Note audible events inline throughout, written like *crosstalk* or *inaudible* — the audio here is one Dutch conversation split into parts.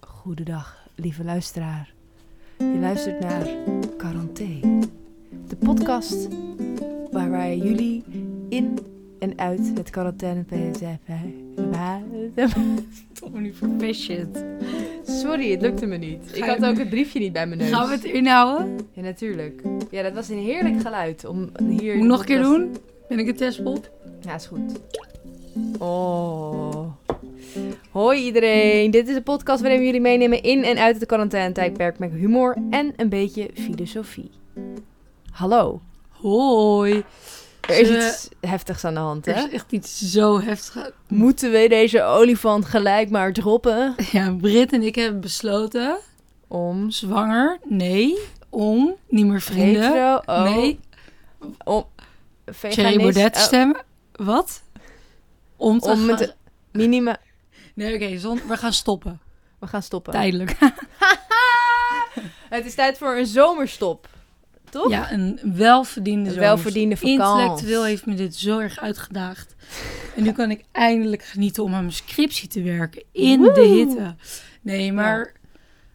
Goedendag, lieve luisteraar. Je luistert naar Quaranté, de podcast waar wij jullie in en uit het quarantaine Tot nu proficient. Sorry, het lukte me niet. Ik Ga je- had ook het briefje niet bij mijn neus. Gaan we het inhouden? Ja, natuurlijk. Ja, dat was een heerlijk geluid om hier... Moet ik nog een keer dat- doen? Ben ik een testpop? Ja, is goed. Oh. Hoi iedereen, dit is de podcast waarin we jullie meenemen in en uit het quarantaine-tijdperk met humor en een beetje filosofie. Hallo, Hoi. er is Ze- iets heftigs aan de hand, Het hè? is echt iets zo heftigs. Moeten we deze olifant gelijk maar droppen? Ja, Britt en ik hebben besloten Om om zwanger, nee, om niet meer vrienden, hetero, oh, nee, om Thierry veganist, Baudet te oh, stemmen. Wat? Om te Om gaan... met de- minima... Nee, oké, zon... we gaan stoppen. We gaan stoppen. Tijdelijk. Het is tijd voor een zomerstop, toch? Ja, een welverdiende Een zomer. welverdiende vakantie. Intellectueel heeft me dit zo erg uitgedaagd. En nu kan ik eindelijk genieten om aan mijn scriptie te werken in de Woe! hitte. Nee, maar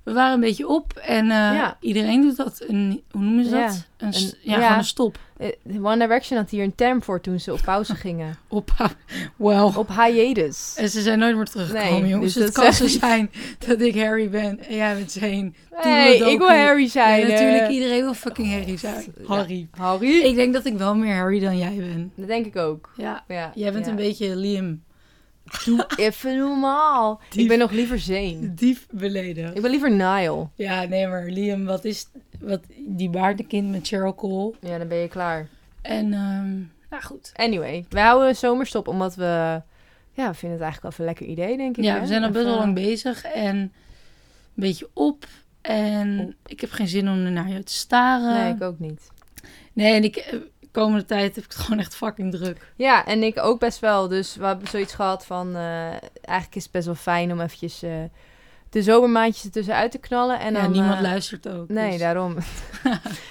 we waren een beetje op en eh, Ja. iedereen doet dat. Een, hoe noemen ze dat? Ja, Een, s- een- ja, ja. gewoon een stop. Eh, One Direction had hier een term voor toen ze op pauze gingen. Op, *laughs* wow. Op hiatus. En ze zijn nooit meer teruggekomen, Nee, jongens. dus het dat kan zo zegt- zijn dat ik Harry ben en jij bent Zane. Hey, ik wil Toedeledokie. Harry zijn. En hè. natuurlijk, iedereen wil fucking Harry zijn. Ja. Harry. Harry. Ik denk dat ik wel meer Harry dan jij ben. Dat denk ik ook. Ja, Ja, jij bent ja. een beetje Liam. Doe *laughs* even normaal. Dief. Ik ben nog liever *laughs* Zane. Dief beleden. Ik ben liever Nile. Ja, nee, maar Liam, wat is wat, die baardenkind met Cheryl Cole? Ja, dan ben je klaar. En, ehm nou goed. Anyway, we houden een zomerstop omdat we... Ja, we vinden het eigenlijk wel even een lekker idee, denk ik. Ja, hè? we zijn al best wel Even- lang bezig en een beetje op. En ik heb geen zin om naar je te staren. Nee, ik ook niet. Nee, en ik, eh, de komende tijd heb ik het *laughs* gewoon echt fucking druk. Ja, en ik ook best wel. Dus we hebben zoiets gehad van... eh, eigenlijk is het best wel fijn om eventjes... eh, de zomermaandjes ertussen uit te knallen. En En dan, niemand eh, luistert ook. Nee, dus- daarom. *laughs*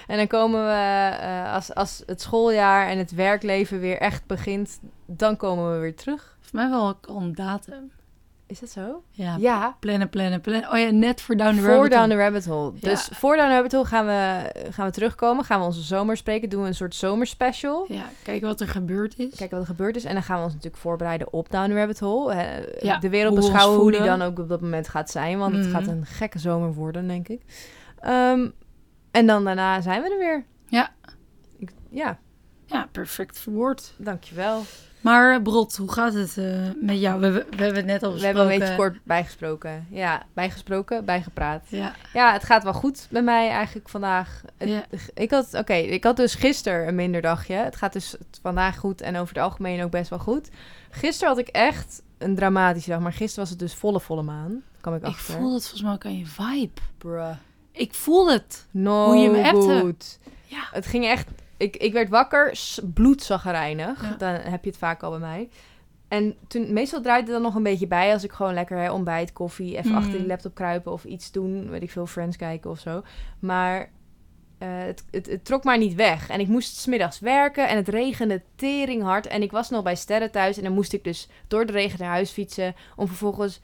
en dan komen we, eh, als, als het schooljaar en het werkleven weer echt begint, dan komen we weer terug. Voor mij wel al een datum. Is dat zo? Ja, Ja. plannen, plannen, plannen. Oh ja, net voor Down the voor Rabbit Down Hole. the Rabbit Hole. Ja. Dus voor Down the Rabbit Hole gaan we, gaan we terugkomen. Gaan we onze zomer spreken. Doen we een soort zomerspecial. Ja, kijken wat er gebeurd is. Kijken wat er gebeurd is. En dan gaan we ons natuurlijk voorbereiden op Down the Rabbit Hole. Eh, Ja, de wereld hoe we ons beschouwen hoe die voelen. dan ook op dat moment gaat zijn. Want het Mhm. gaat een gekke zomer worden, denk ik. Ehm, en dan daarna zijn we er weer. Ja. Ik- ja, Ja, perfect verwoord. dankjewel. Maar eh, Brot, hoe gaat het eh, met jou? We, hebben- we hebben het net al besproken. We hebben een beetje kort bijgesproken. Ja, bijgesproken, bijgepraat. Ja, Ja, het gaat wel goed bij mij eigenlijk vandaag. Het- ja. Ik had, oké, ik had dus gisteren een minder dagje. Het gaat dus vandaag goed en over het algemeen ook best wel goed. Gisteren had ik echt een dramatische dag, maar gisteren was het dus volle volle maan. Kwam ik ik achter. voel het volgens mij ook aan je vibe. Bruh. Ik voel het. No Hoe je me appte. good. Ja. Het ging echt... Ik, ik werd wakker, s- bloedzaggerijnig. Ja. Dan heb je het vaak al bij mij. En toen, meestal draait het dan nog een beetje bij als ik gewoon lekker hè, ontbijt, koffie, even Mm. achter die laptop kruipen of iets doen. Weet ik veel, Friends kijken of zo. Maar eh, het, het, het trok maar niet weg. En ik moest smiddags werken en het regende tering hard. En ik was nog bij Sterren thuis en dan moest ik dus door de regen naar huis fietsen. Om vervolgens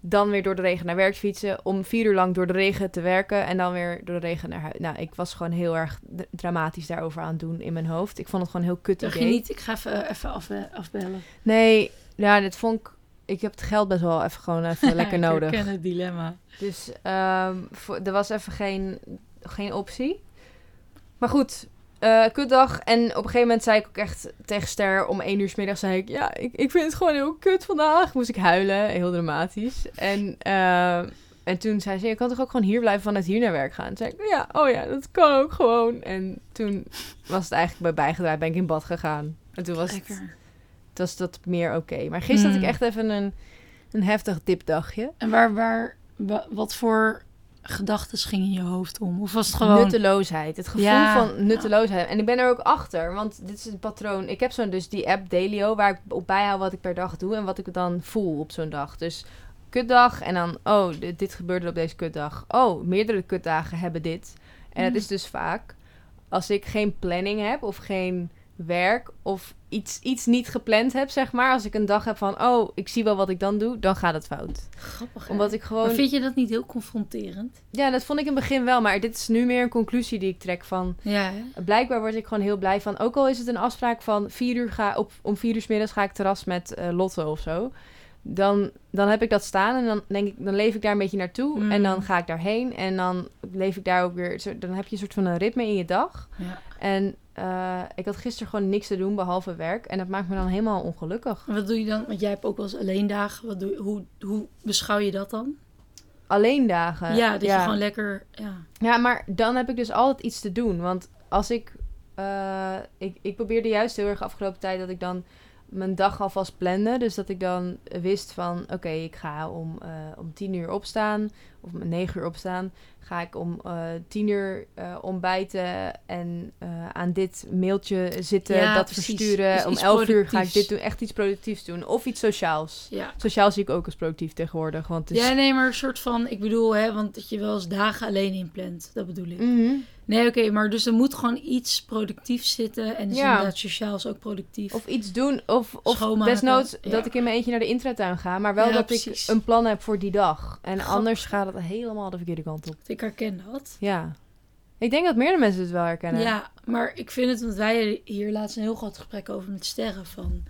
dan weer door de regen naar werk te fietsen. Om vier uur lang door de regen te werken en dan weer door de regen naar huis. Nou, ik was gewoon heel erg d- dramatisch daarover aan het doen in mijn hoofd. Ik vond het gewoon heel kut Dacht je idee. niet, ik ga even, eh, even afbe- afbellen. Nee, ja, dit vond ik... Ik heb het geld best wel even gewoon *laughs* even lekker Ik nodig. herken het dilemma. Dus ehm, voor- er was even geen, geen optie. Maar goed, eh kutdag. En op een gegeven moment zei ik ook echt tegen Ster om één uur 's middags zei ik, ja, ik, ik vind het gewoon heel kut vandaag. Moest ik huilen, heel dramatisch. En, ehm, en toen zei ze, je kan toch ook gewoon hier blijven vanuit hier naar werk gaan? Toen zei ik, ja, oh ja, dat kan ook gewoon. En toen was het eigenlijk bij bijgedraaid, ben ik in bad gegaan. En toen was het Lekker. het was dat meer oké. Maar gisteren had ik Mm. echt even een, een heftig dipdagje. En waar, waar, wa- wat voor gedachten gingen in je hoofd om? Of was het gewoon... Nutteloosheid. Het gevoel Ja. van nutteloosheid. En ik ben er ook achter, want dit is een patroon. Ik heb zo'n dus die app Delio, waar ik op bijhoud wat ik per dag doe en wat ik dan voel op zo'n dag. Dus kutdag en dan, oh, dit, dit gebeurde er op deze kutdag. Oh, meerdere kutdagen hebben dit. En het Mm. is dus vaak, als ik geen planning heb of geen werk of iets, iets niet gepland heb, zeg maar. Als ik een dag heb van, oh, ik zie wel wat ik dan doe, dan gaat het fout. Grappig. hè? Omdat ik gewoon... Maar vind je dat niet heel confronterend? Ja, dat vond ik in het begin wel, maar dit is nu meer een conclusie die ik trek van... Ja, hè? Blijkbaar word ik gewoon heel blij van. Ook al is het een afspraak van vier uur ga, op, om vier uur 's middags ga ik terras met eh, Lotte of zo. Dan, dan heb ik dat staan en dan denk ik, dan leef ik daar een beetje naartoe. Mm. En dan ga ik daarheen en dan leef ik daar ook weer. zo- Dan heb je een soort van een ritme in je dag. Ja. En eh, ik had gisteren gewoon niks te doen behalve werk. En dat maakt me dan helemaal ongelukkig. En Wat doe je dan? Want jij hebt ook wel eens alleen dagen. Wat doe, hoe, hoe beschouw je dat dan? Alleen dagen. ja, dat je gewoon lekker... Ja. Ja, maar dan heb ik dus altijd iets te doen. Want als ik, eh, ik. Ik probeerde juist heel erg afgelopen tijd dat ik dan mijn dag alvast plande. Dus dat ik dan wist van: oké, ik ga om, eh, om tien uur opstaan. Of om negen uur opstaan. Ga ik om eh tien uur eh, ontbijten. En eh, aan dit mailtje zitten. Ja, dat precies. versturen. Dus om iets elf uur ga ik productiefs. dit doen. Echt iets productiefs doen. Of iets sociaals. ja. Sociaal zie ik ook als productief tegenwoordig. Want het is... Ja, nee, maar een soort van... Ik bedoel, hè, want dat je wel eens dagen alleen inplant. Dat bedoel ik. Mhm. Nee, oké, maar dus er moet gewoon iets productiefs zitten. En dus Ja. inderdaad sociaal is ook productief. Of iets doen. Of, of Schoonmaken, desnoods ja. dat ik in mijn eentje naar de intratuin ga. Maar wel Ja, dat precies. ik een plan heb voor die dag. En Grappig. anders gaat het helemaal de verkeerde kant op. Ik herken dat. Ja. Ik denk dat meerdere mensen het wel herkennen. Ja, maar ik vind het, want wij hier laatst een heel groot gesprek over met sterren van...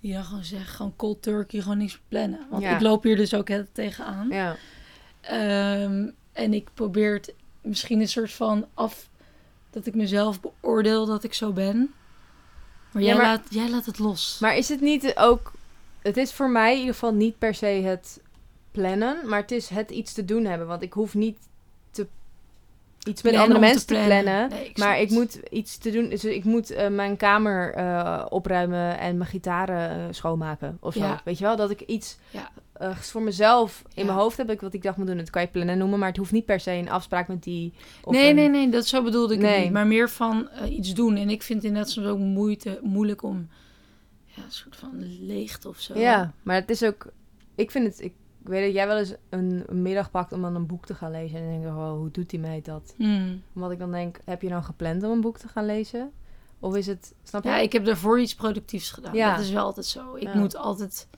Die dan gewoon zeggen, gewoon cold turkey, gewoon niks plannen. Want Ja. ik loop hier dus ook hè, tegenaan. Ja. Ehm, en ik probeer het misschien een soort van af... Dat ik mezelf beoordeel dat ik zo ben. Maar, Ja, jij, maar- Laat, jij laat het los. Maar is het niet ook... Het is voor mij in ieder geval niet per se het plannen. Maar het is het iets te doen hebben. Want ik hoef niet te, iets met Plannen andere om te mensen te plannen. plannen. Nee, ik maar snap ik het. moet iets te doen. Dus ik moet eh, mijn kamer eh, opruimen en mijn gitaren eh, schoonmaken of zo. Ja. Weet je wel? Dat ik iets Ja. eh, voor mezelf in Ja. mijn hoofd heb ik wat ik dacht moet doen. Dat kan je plannen noemen, maar het hoeft niet per se een afspraak met die. Of nee, een- nee, nee, dat zo bedoelde ik het Nee. niet. Maar meer van eh, iets doen. En ik vind het inderdaad soms ook moeite, moeilijk om ja, een soort van leegte of zo. Ja, maar het is ook. Ik vind het. Ik weet dat jij wel eens een, een middag pakt om dan een boek te gaan lezen. En dan denk ik, oh, hoe doet die meid dat? Hmm. Omdat ik dan denk, heb je dan gepland om een boek te gaan lezen? Of is het. Snap je? Ja, ik heb daarvoor iets productiefs gedaan. Ja. Dat is wel altijd zo. Ik Ja. moet altijd...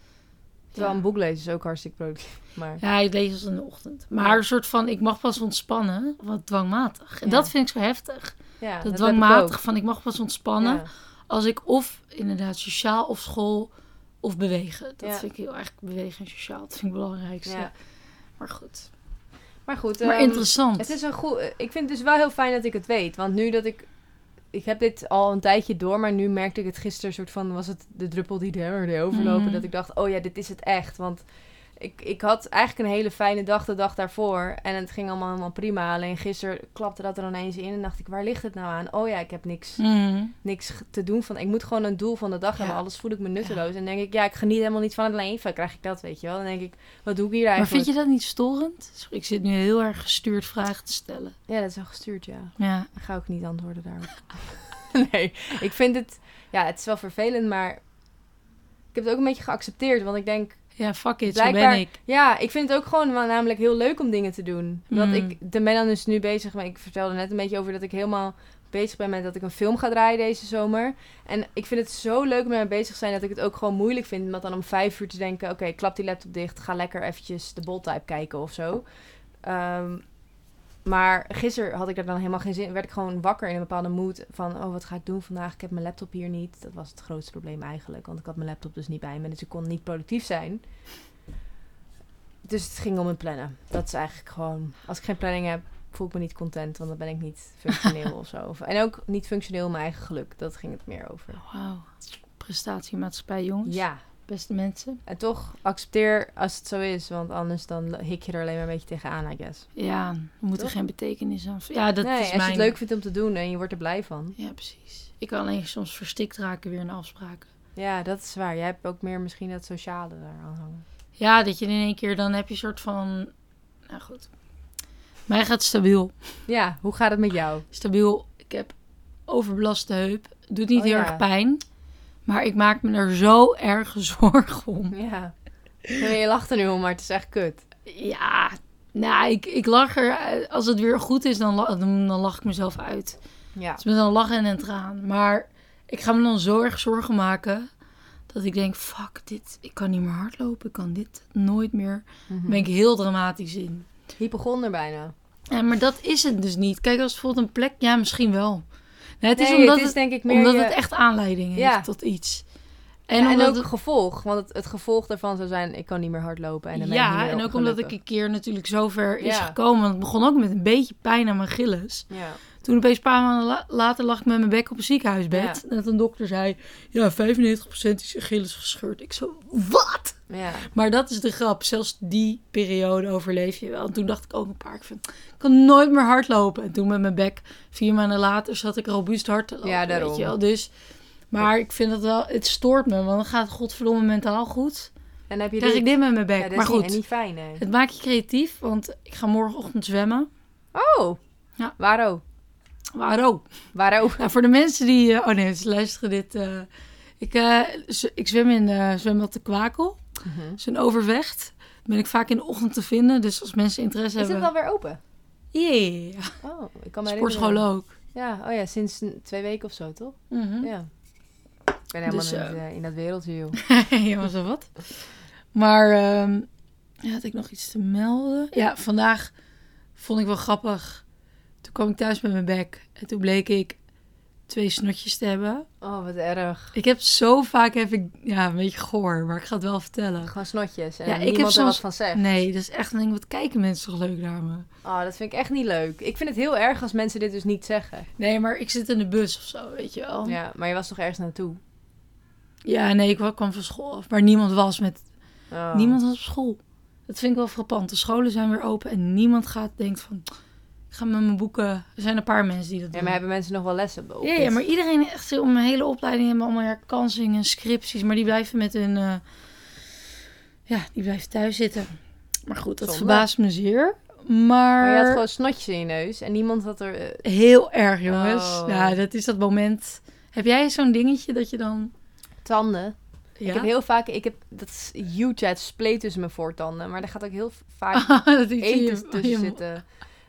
Terwijl ja. een boek lezen is ook hartstikke productief. Maar. Ja, ik lees als in de ochtend. Maar een soort van, ik mag pas ontspannen, wat dwangmatig. En Ja. dat vind ik zo heftig. Ja, heb dat ik ook. dwangmatig van, ik mag pas ontspannen Ja. als ik of inderdaad sociaal of school of bewegen. Dat Ja. vind ik heel erg bewegen en sociaal. Dat vind ik het belangrijkste. Ja. Maar goed. Maar goed, maar ehm, interessant. het is een goed. Ik vind het dus wel heel fijn dat ik het weet. Want nu dat ik. Ik heb dit al een tijdje door, maar nu merkte ik het gisteren soort van was het de druppel die de emmer deed overlopen. Mm. Dat ik dacht, oh ja, dit is het echt. Want ik, ik had eigenlijk een hele fijne dag de dag daarvoor. En het ging allemaal helemaal prima. Alleen gisteren klapte dat er ineens in en dacht ik, waar ligt het nou aan? Oh ja, ik heb niks, Mm. niks g- te doen van. Ik moet gewoon een doel van de dag hebben. Ja. Alles voel ik me nutteloos. En denk ik, ja, ik geniet helemaal niet van het leven. Krijg ik dat, weet je wel? Dan denk ik, wat doe ik hier Maar eigenlijk? vind je dat niet storend? Sorry, ik zit nu heel erg gestuurd vragen te stellen. Ja, dat is al gestuurd, ja. Ja. Ik *laughs* ga ook niet antwoorden daarop. nee, ik vind het... Ja, het is wel vervelend, maar... Ik heb het ook een beetje geaccepteerd, want ik denk... Ja, fuck it, zo Blijkbaar- ben ik. Ja, ik vind het ook gewoon wel namelijk heel leuk om dingen te doen. Want Mm. ik de ben dan dus nu bezig... Maar ik vertelde net een beetje over dat ik helemaal bezig ben met dat ik een film ga draaien deze zomer. En ik vind het zo leuk om mee bezig te zijn dat ik het ook gewoon moeilijk vind. Om dat dan om vijf uur te denken... Oké, klap die laptop dicht. Ga lekker eventjes de boltype kijken of zo. Ehm, maar gisteren had ik daar dan helemaal geen zin in. Werd ik gewoon wakker in een bepaalde mood van... oh, wat ga ik doen vandaag? Ik heb mijn laptop hier niet. Dat was het grootste probleem eigenlijk. Want ik had mijn laptop dus niet bij me. Dus ik kon niet productief zijn. Dus het ging om het plannen. Dat is eigenlijk gewoon... Als ik geen planning heb, voel ik me niet content. Want dan ben ik niet *laughs* functioneel of zo. Of- En ook niet functioneel in mijn eigen geluk. Dat ging het meer over. Wauw. Prestatiemaatschappij, jongens. Ja. Beste mensen. En toch accepteer als het zo is. Want anders dan hik je er alleen maar een beetje tegenaan, I guess. Ja, we moeten Toch? geen betekenis aan... Ja, dat nee, is als mijn... je het leuk vindt om te doen en je wordt er blij van. Ja, precies. Ik kan alleen soms verstikt raken weer in afspraken. Ja, dat is waar. Jij hebt ook meer misschien dat sociale daar aan hangen. Ja, dat je in één keer dan heb je een soort van... Nou goed. Mij gaat stabiel. Ja, hoe gaat het met jou? Stabiel. Ik heb overbelaste heup. Doet niet Oh, heel ja. erg pijn. Maar ik maak me er zo erg *laughs* zorgen om. *laughs* Ja. Nee, je lacht er nu om, maar het is echt kut. Ja, nou, ik, ik lach er. eh, Als het weer goed is, dan, la- dan, dan lach ik mezelf uit. Het Ja. is met een lach en een traan. Maar Ik ga me dan zo erg zorgen maken dat ik denk, fuck dit, ik kan niet meer hardlopen, ik kan dit nooit meer. Mhm. Daar ben ik heel dramatisch in. Hypochonder bijna. Ja, maar dat is het dus niet. Kijk, als bijvoorbeeld een plek, ja, misschien wel. Nee, het is Nee, omdat, het het, is denk ik meer omdat je- het echt aanleiding Ja. heeft tot iets. En, En, ja, en omdat ook het- gevolg. Want het, het gevolg daarvan zou zijn, ik kan niet meer hardlopen. En dan ben ik niet ja, meer en ook omdat ik opgelukkig. een keer natuurlijk zo ver is Ja. gekomen. Want het begon ook met een beetje pijn aan mijn gilles. Ja. Toen opeens een paar maanden la- later lag ik met mijn bek op een ziekenhuisbed. Dat een dokter zei, ja, 95% is je gilles gescheurd. Ik zo, wat? ja. Maar dat is de grap. Zelfs die periode overleef je wel. En toen dacht ik ook een paar keer van, ik kan nooit meer hardlopen. En toen met mijn bek, vier maanden later, zat ik robuust hard te lopen. Ja, daarom. Weet je wel. Dus, maar ik vind dat wel, het stoort me. Want dan gaat het godverdomme mentaal goed. En dan heb je Dan krijg ik dit met mijn bek. Ja, dat maar is niet- goed. en niet fijn, nee. Het maakt je creatief, want ik ga morgenochtend zwemmen. Oh! Ja. Waarom? Waar ook. *laughs* Waarom? Nou, voor de mensen die... eh, oh nee, ze luisteren dit. eh, ik, eh, z- ik zwem in eh zwembad de Kwakel. Dat is een overvecht. Ben ik vaak in de ochtend te vinden. Dus als mensen interesse Is het hebben... alweer open? Ja, ja, ja. Oh, ik kan me sportschool herinneren. ook. Ja, oh ja, sinds een- twee weken of zo, toch? Mhm. Ja. Ik ben helemaal Dus, niet eh, eh, in dat wereldje, joh. *laughs* ja, was dat wat? Maar ehm, ja, had ik nog iets te melden? Ja, vandaag vond ik wel grappig. Toen kwam ik thuis met mijn bek. En toen bleek ik twee snotjes te hebben. Oh, wat erg. Ik heb zo vaak, heb ik, ja, een beetje goor, maar ik ga het wel vertellen. Gewoon snotjes. En Ja, ja, ik niemand heb er soms- wat van zegt. Nee, dat is echt een ding, wat kijken mensen toch leuk naar me? Oh, dat vind ik echt niet leuk. Ik vind het heel erg als mensen dit dus niet zeggen. Nee, maar ik zit in de bus of zo, weet je wel. Ja, Ja, maar je was toch ergens naartoe? nee, ik wa- kwam van school af, maar niemand was met, Oh. niemand was op school. Dat vind ik wel frappant. De scholen zijn weer open en niemand gaat, denkt van, ik ga met mijn boeken. Er zijn een paar mensen die dat Ja, doen. maar hebben mensen nog wel lessen op ja, dit? ja, maar iedereen echt om mijn hele opleiding hebben allemaal herkansingen en scripties, maar die blijven met hun, eh, ja, die blijven thuis zitten. Maar goed, dat Zonde. verbaast me zeer. Maar, Maar je had gewoon snotjes in je neus en niemand had er... eh, Heel erg, jongens. Oh. Ja, dat is dat moment. Heb jij zo'n dingetje dat je dan... tanden. Ja? Ik heb heel vaak... Ik heb, dat is huge, het spleet tussen mijn voortanden. Maar daar gaat ook heel vaak *laughs* dat iets in Ah, *laughs* je- eten tussen je- zitten.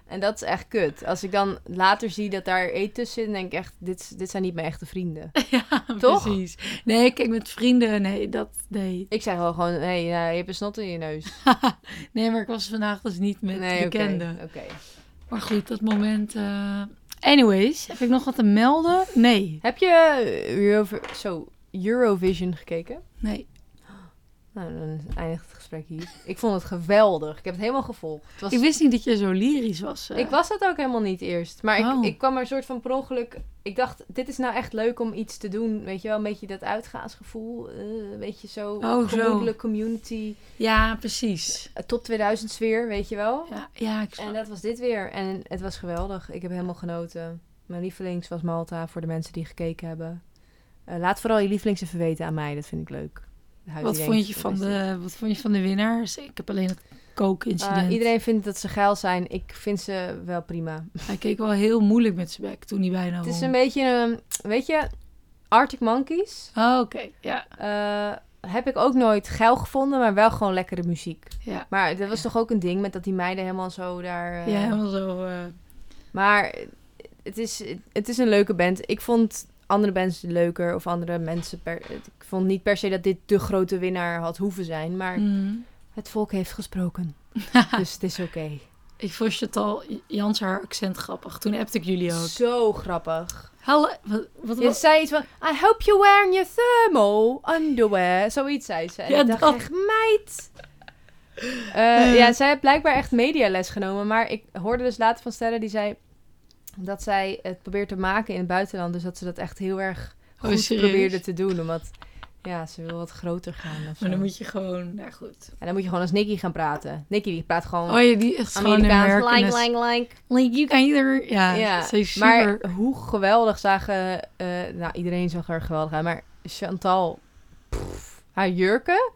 En dat is echt kut. Als ik dan later zie dat daar eten tussen zit, dan denk ik echt, dit, dit zijn niet mijn echte *laughs* vrienden. Ja, Toch? precies. Nee, kijk, met vrienden, nee, dat... Nee, Ik zeg wel gewoon, hé, hey, ja, je hebt een snot in je neus. nee maar ik was vandaag dus niet met nee, oké, bekenden. Oké. Maar goed, dat moment... eh, Anyways, heb ik nog wat te melden? Nee, Heb je eh, Eurovi- zo, Eurovision gekeken? nee. Nou, dan eindigt het gesprek hier. Ik vond het geweldig. Ik heb het helemaal gevolgd. Het was, Ik wist niet dat je zo lyrisch was. eh. ik was dat ook helemaal niet eerst. Maar ik, Oh. ik kwam er een soort van per ongeluk... Ik dacht, dit is nou echt leuk om iets te doen. Weet je wel, een beetje dat uitgaansgevoel. eh, een beetje zo Oh, zo. gemoedelijk community. Ja, precies. Eh, Top 2000 sfeer, weet je wel. Ja, ja ik En dat was dit weer. En het was geweldig. Ik heb helemaal genoten. Mijn lievelings was Malta, voor de mensen die gekeken hebben. Eh, laat vooral je lievelings even weten aan mij. Dat vind ik leuk. Daar houdt Wat iedereen vond, je van, van is dit. de, wat vond je van de winnaars? Ik heb alleen het Eh, kookincident. iedereen vindt dat ze geil zijn. Ik vind ze wel prima. Hij keek wel heel moeilijk met zijn bek toen hij bijna Het is won. een beetje, een, weet je, Arctic Monkeys Oh, oké. Ja, eh, heb ik ook nooit geil gevonden, maar wel gewoon lekkere muziek. ja. Maar dat was toch ook een ding met dat die meiden helemaal zo daar... eh, Ja, helemaal zo. eh, Maar het is, het is een leuke band. Ik vond andere bands leuker of andere mensen. Per, ik vond niet per se dat dit de grote winnaar had hoeven zijn. Maar mm. het volk heeft *laughs* gesproken. dus het is oké. Ik vond het al Jans haar accent grappig. Toen appte ik jullie ook. Zo grappig. Hallo, wat, wat Je was... zei iets van... I hope you wearing your thermal underwear. Zoiets zei ze. En Ja, ik dacht dat. echt, meid. Eh, ja, zij heeft blijkbaar echt mediales genomen. Maar ik hoorde dus later van Sterren die zei... dat zij het probeert te maken in het buitenland. Dus dat ze dat echt heel erg Oh, goed serieus? probeerde te doen. Omdat ja, ze wil wat groter gaan. Of zo. Maar dan moet je gewoon... Nou goed. En dan moet je gewoon als Nicky gaan praten. Nicky die praat gewoon Oh ja, die echt gewoon een Amerikaans. Like, herkennis. like, like. Like, you can either... Ja, Ja, ze is super... Maar hoe geweldig zagen... eh, nou, iedereen zag er geweldig uit. Maar Chantal, pff, haar jurken...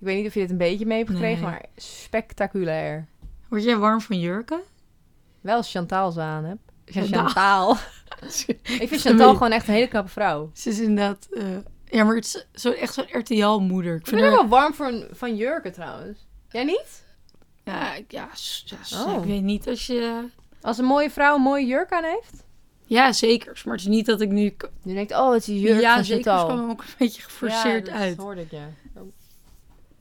Ik weet niet of je dit een beetje mee hebt gekregen, Nee. maar spectaculair. Word jij warm van jurken? *laughs* Wel als Chantal ze aan hebt. Chantal. Chantal. *laughs* Ik vind Chantal gewoon echt een hele knappe vrouw. ze is inderdaad... eh, ja, maar het is zo, echt zo'n RTL-moeder. Ik Ik vind vind haar haar... wel warm voor, van jurken trouwens. Jij niet? Ja, ik- ja, s- ja, s- Oh. ik weet niet als je... Als een mooie vrouw een mooie jurk aan heeft? Ja, zeker. Maar het is niet dat ik nu... Nu denkt, oh, het is een jurk ja, van zeker. Chantal. kwam hem ook een beetje geforceerd dat uit. hoorde ik, ja. Oh.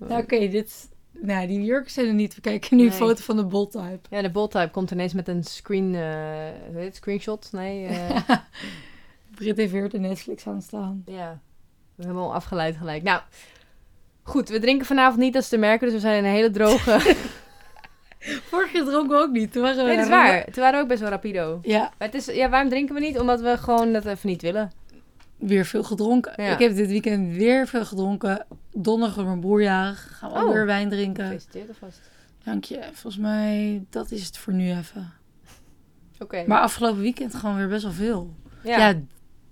Nou, oké, dit... Nou, die jurken zijn er niet. We kijken nu een Nee. foto van de bol type. Ja, de boltype komt ineens met een screen, eh, hoe heet het, screenshot. Nee, eh, *laughs* Britt heeft weer de Netflix aanstaan. ja. Helemaal afgeleid gelijk. Nou, goed. We drinken vanavond niet, dat is te merken. Dus we zijn een hele droge... Vorige keer dronken we ook niet. Toen waren *laughs* we nee, *laughs* dat is daar- waar. Toen waren we ook best wel rapido. Ja, Maar het is, ja, waarom drinken we niet? Omdat we gewoon dat even niet willen. weer veel gedronken. Ja. Ik heb dit weekend weer veel gedronken. Donderdag was mijn broerjarig. Gaan we ook Oh. weer wijn drinken. Gefeliciteerd alvast. Dank je. Volgens mij, dat is het voor nu even. Oké. Maar afgelopen weekend gewoon weer best wel veel. Ja,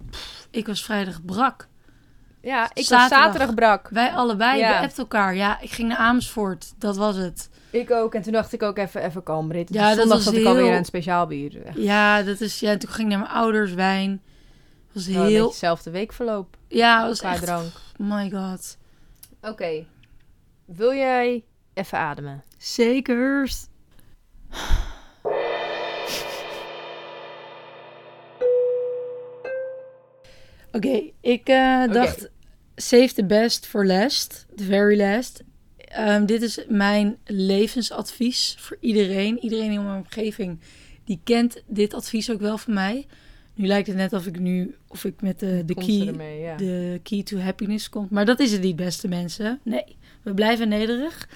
pff, ik was vrijdag brak. Ja, ik was Zaterdag. zaterdag brak. Wij allebei, Ja. we appten elkaar. Ja, ik ging naar Amersfoort. Dat was het. Ik ook. En toen dacht ik ook even, even kalm, Brit. Ja, dat Ja, Zondag was zat ik alweer heel- aan het speciaal bier. Echt Ja, dat is... Ja, en toen ging ik naar mijn ouders, wijn. was wel een beetje heel... hetzelfde weekverloop Ja, was Oh, qua echt... drank. My god. Oké. Wil jij even ademen? Zeker. Oké, ik eh, Oké. dacht save the best for last, the very last. Ehm, dit is mijn levensadvies voor iedereen. Iedereen in mijn omgeving die kent dit advies ook wel van mij. Nu lijkt het net of ik nu of ik met de, de Komt key ze ermee, ja. de key to happiness komt. Maar dat is het niet, beste mensen. Nee, we blijven nederig.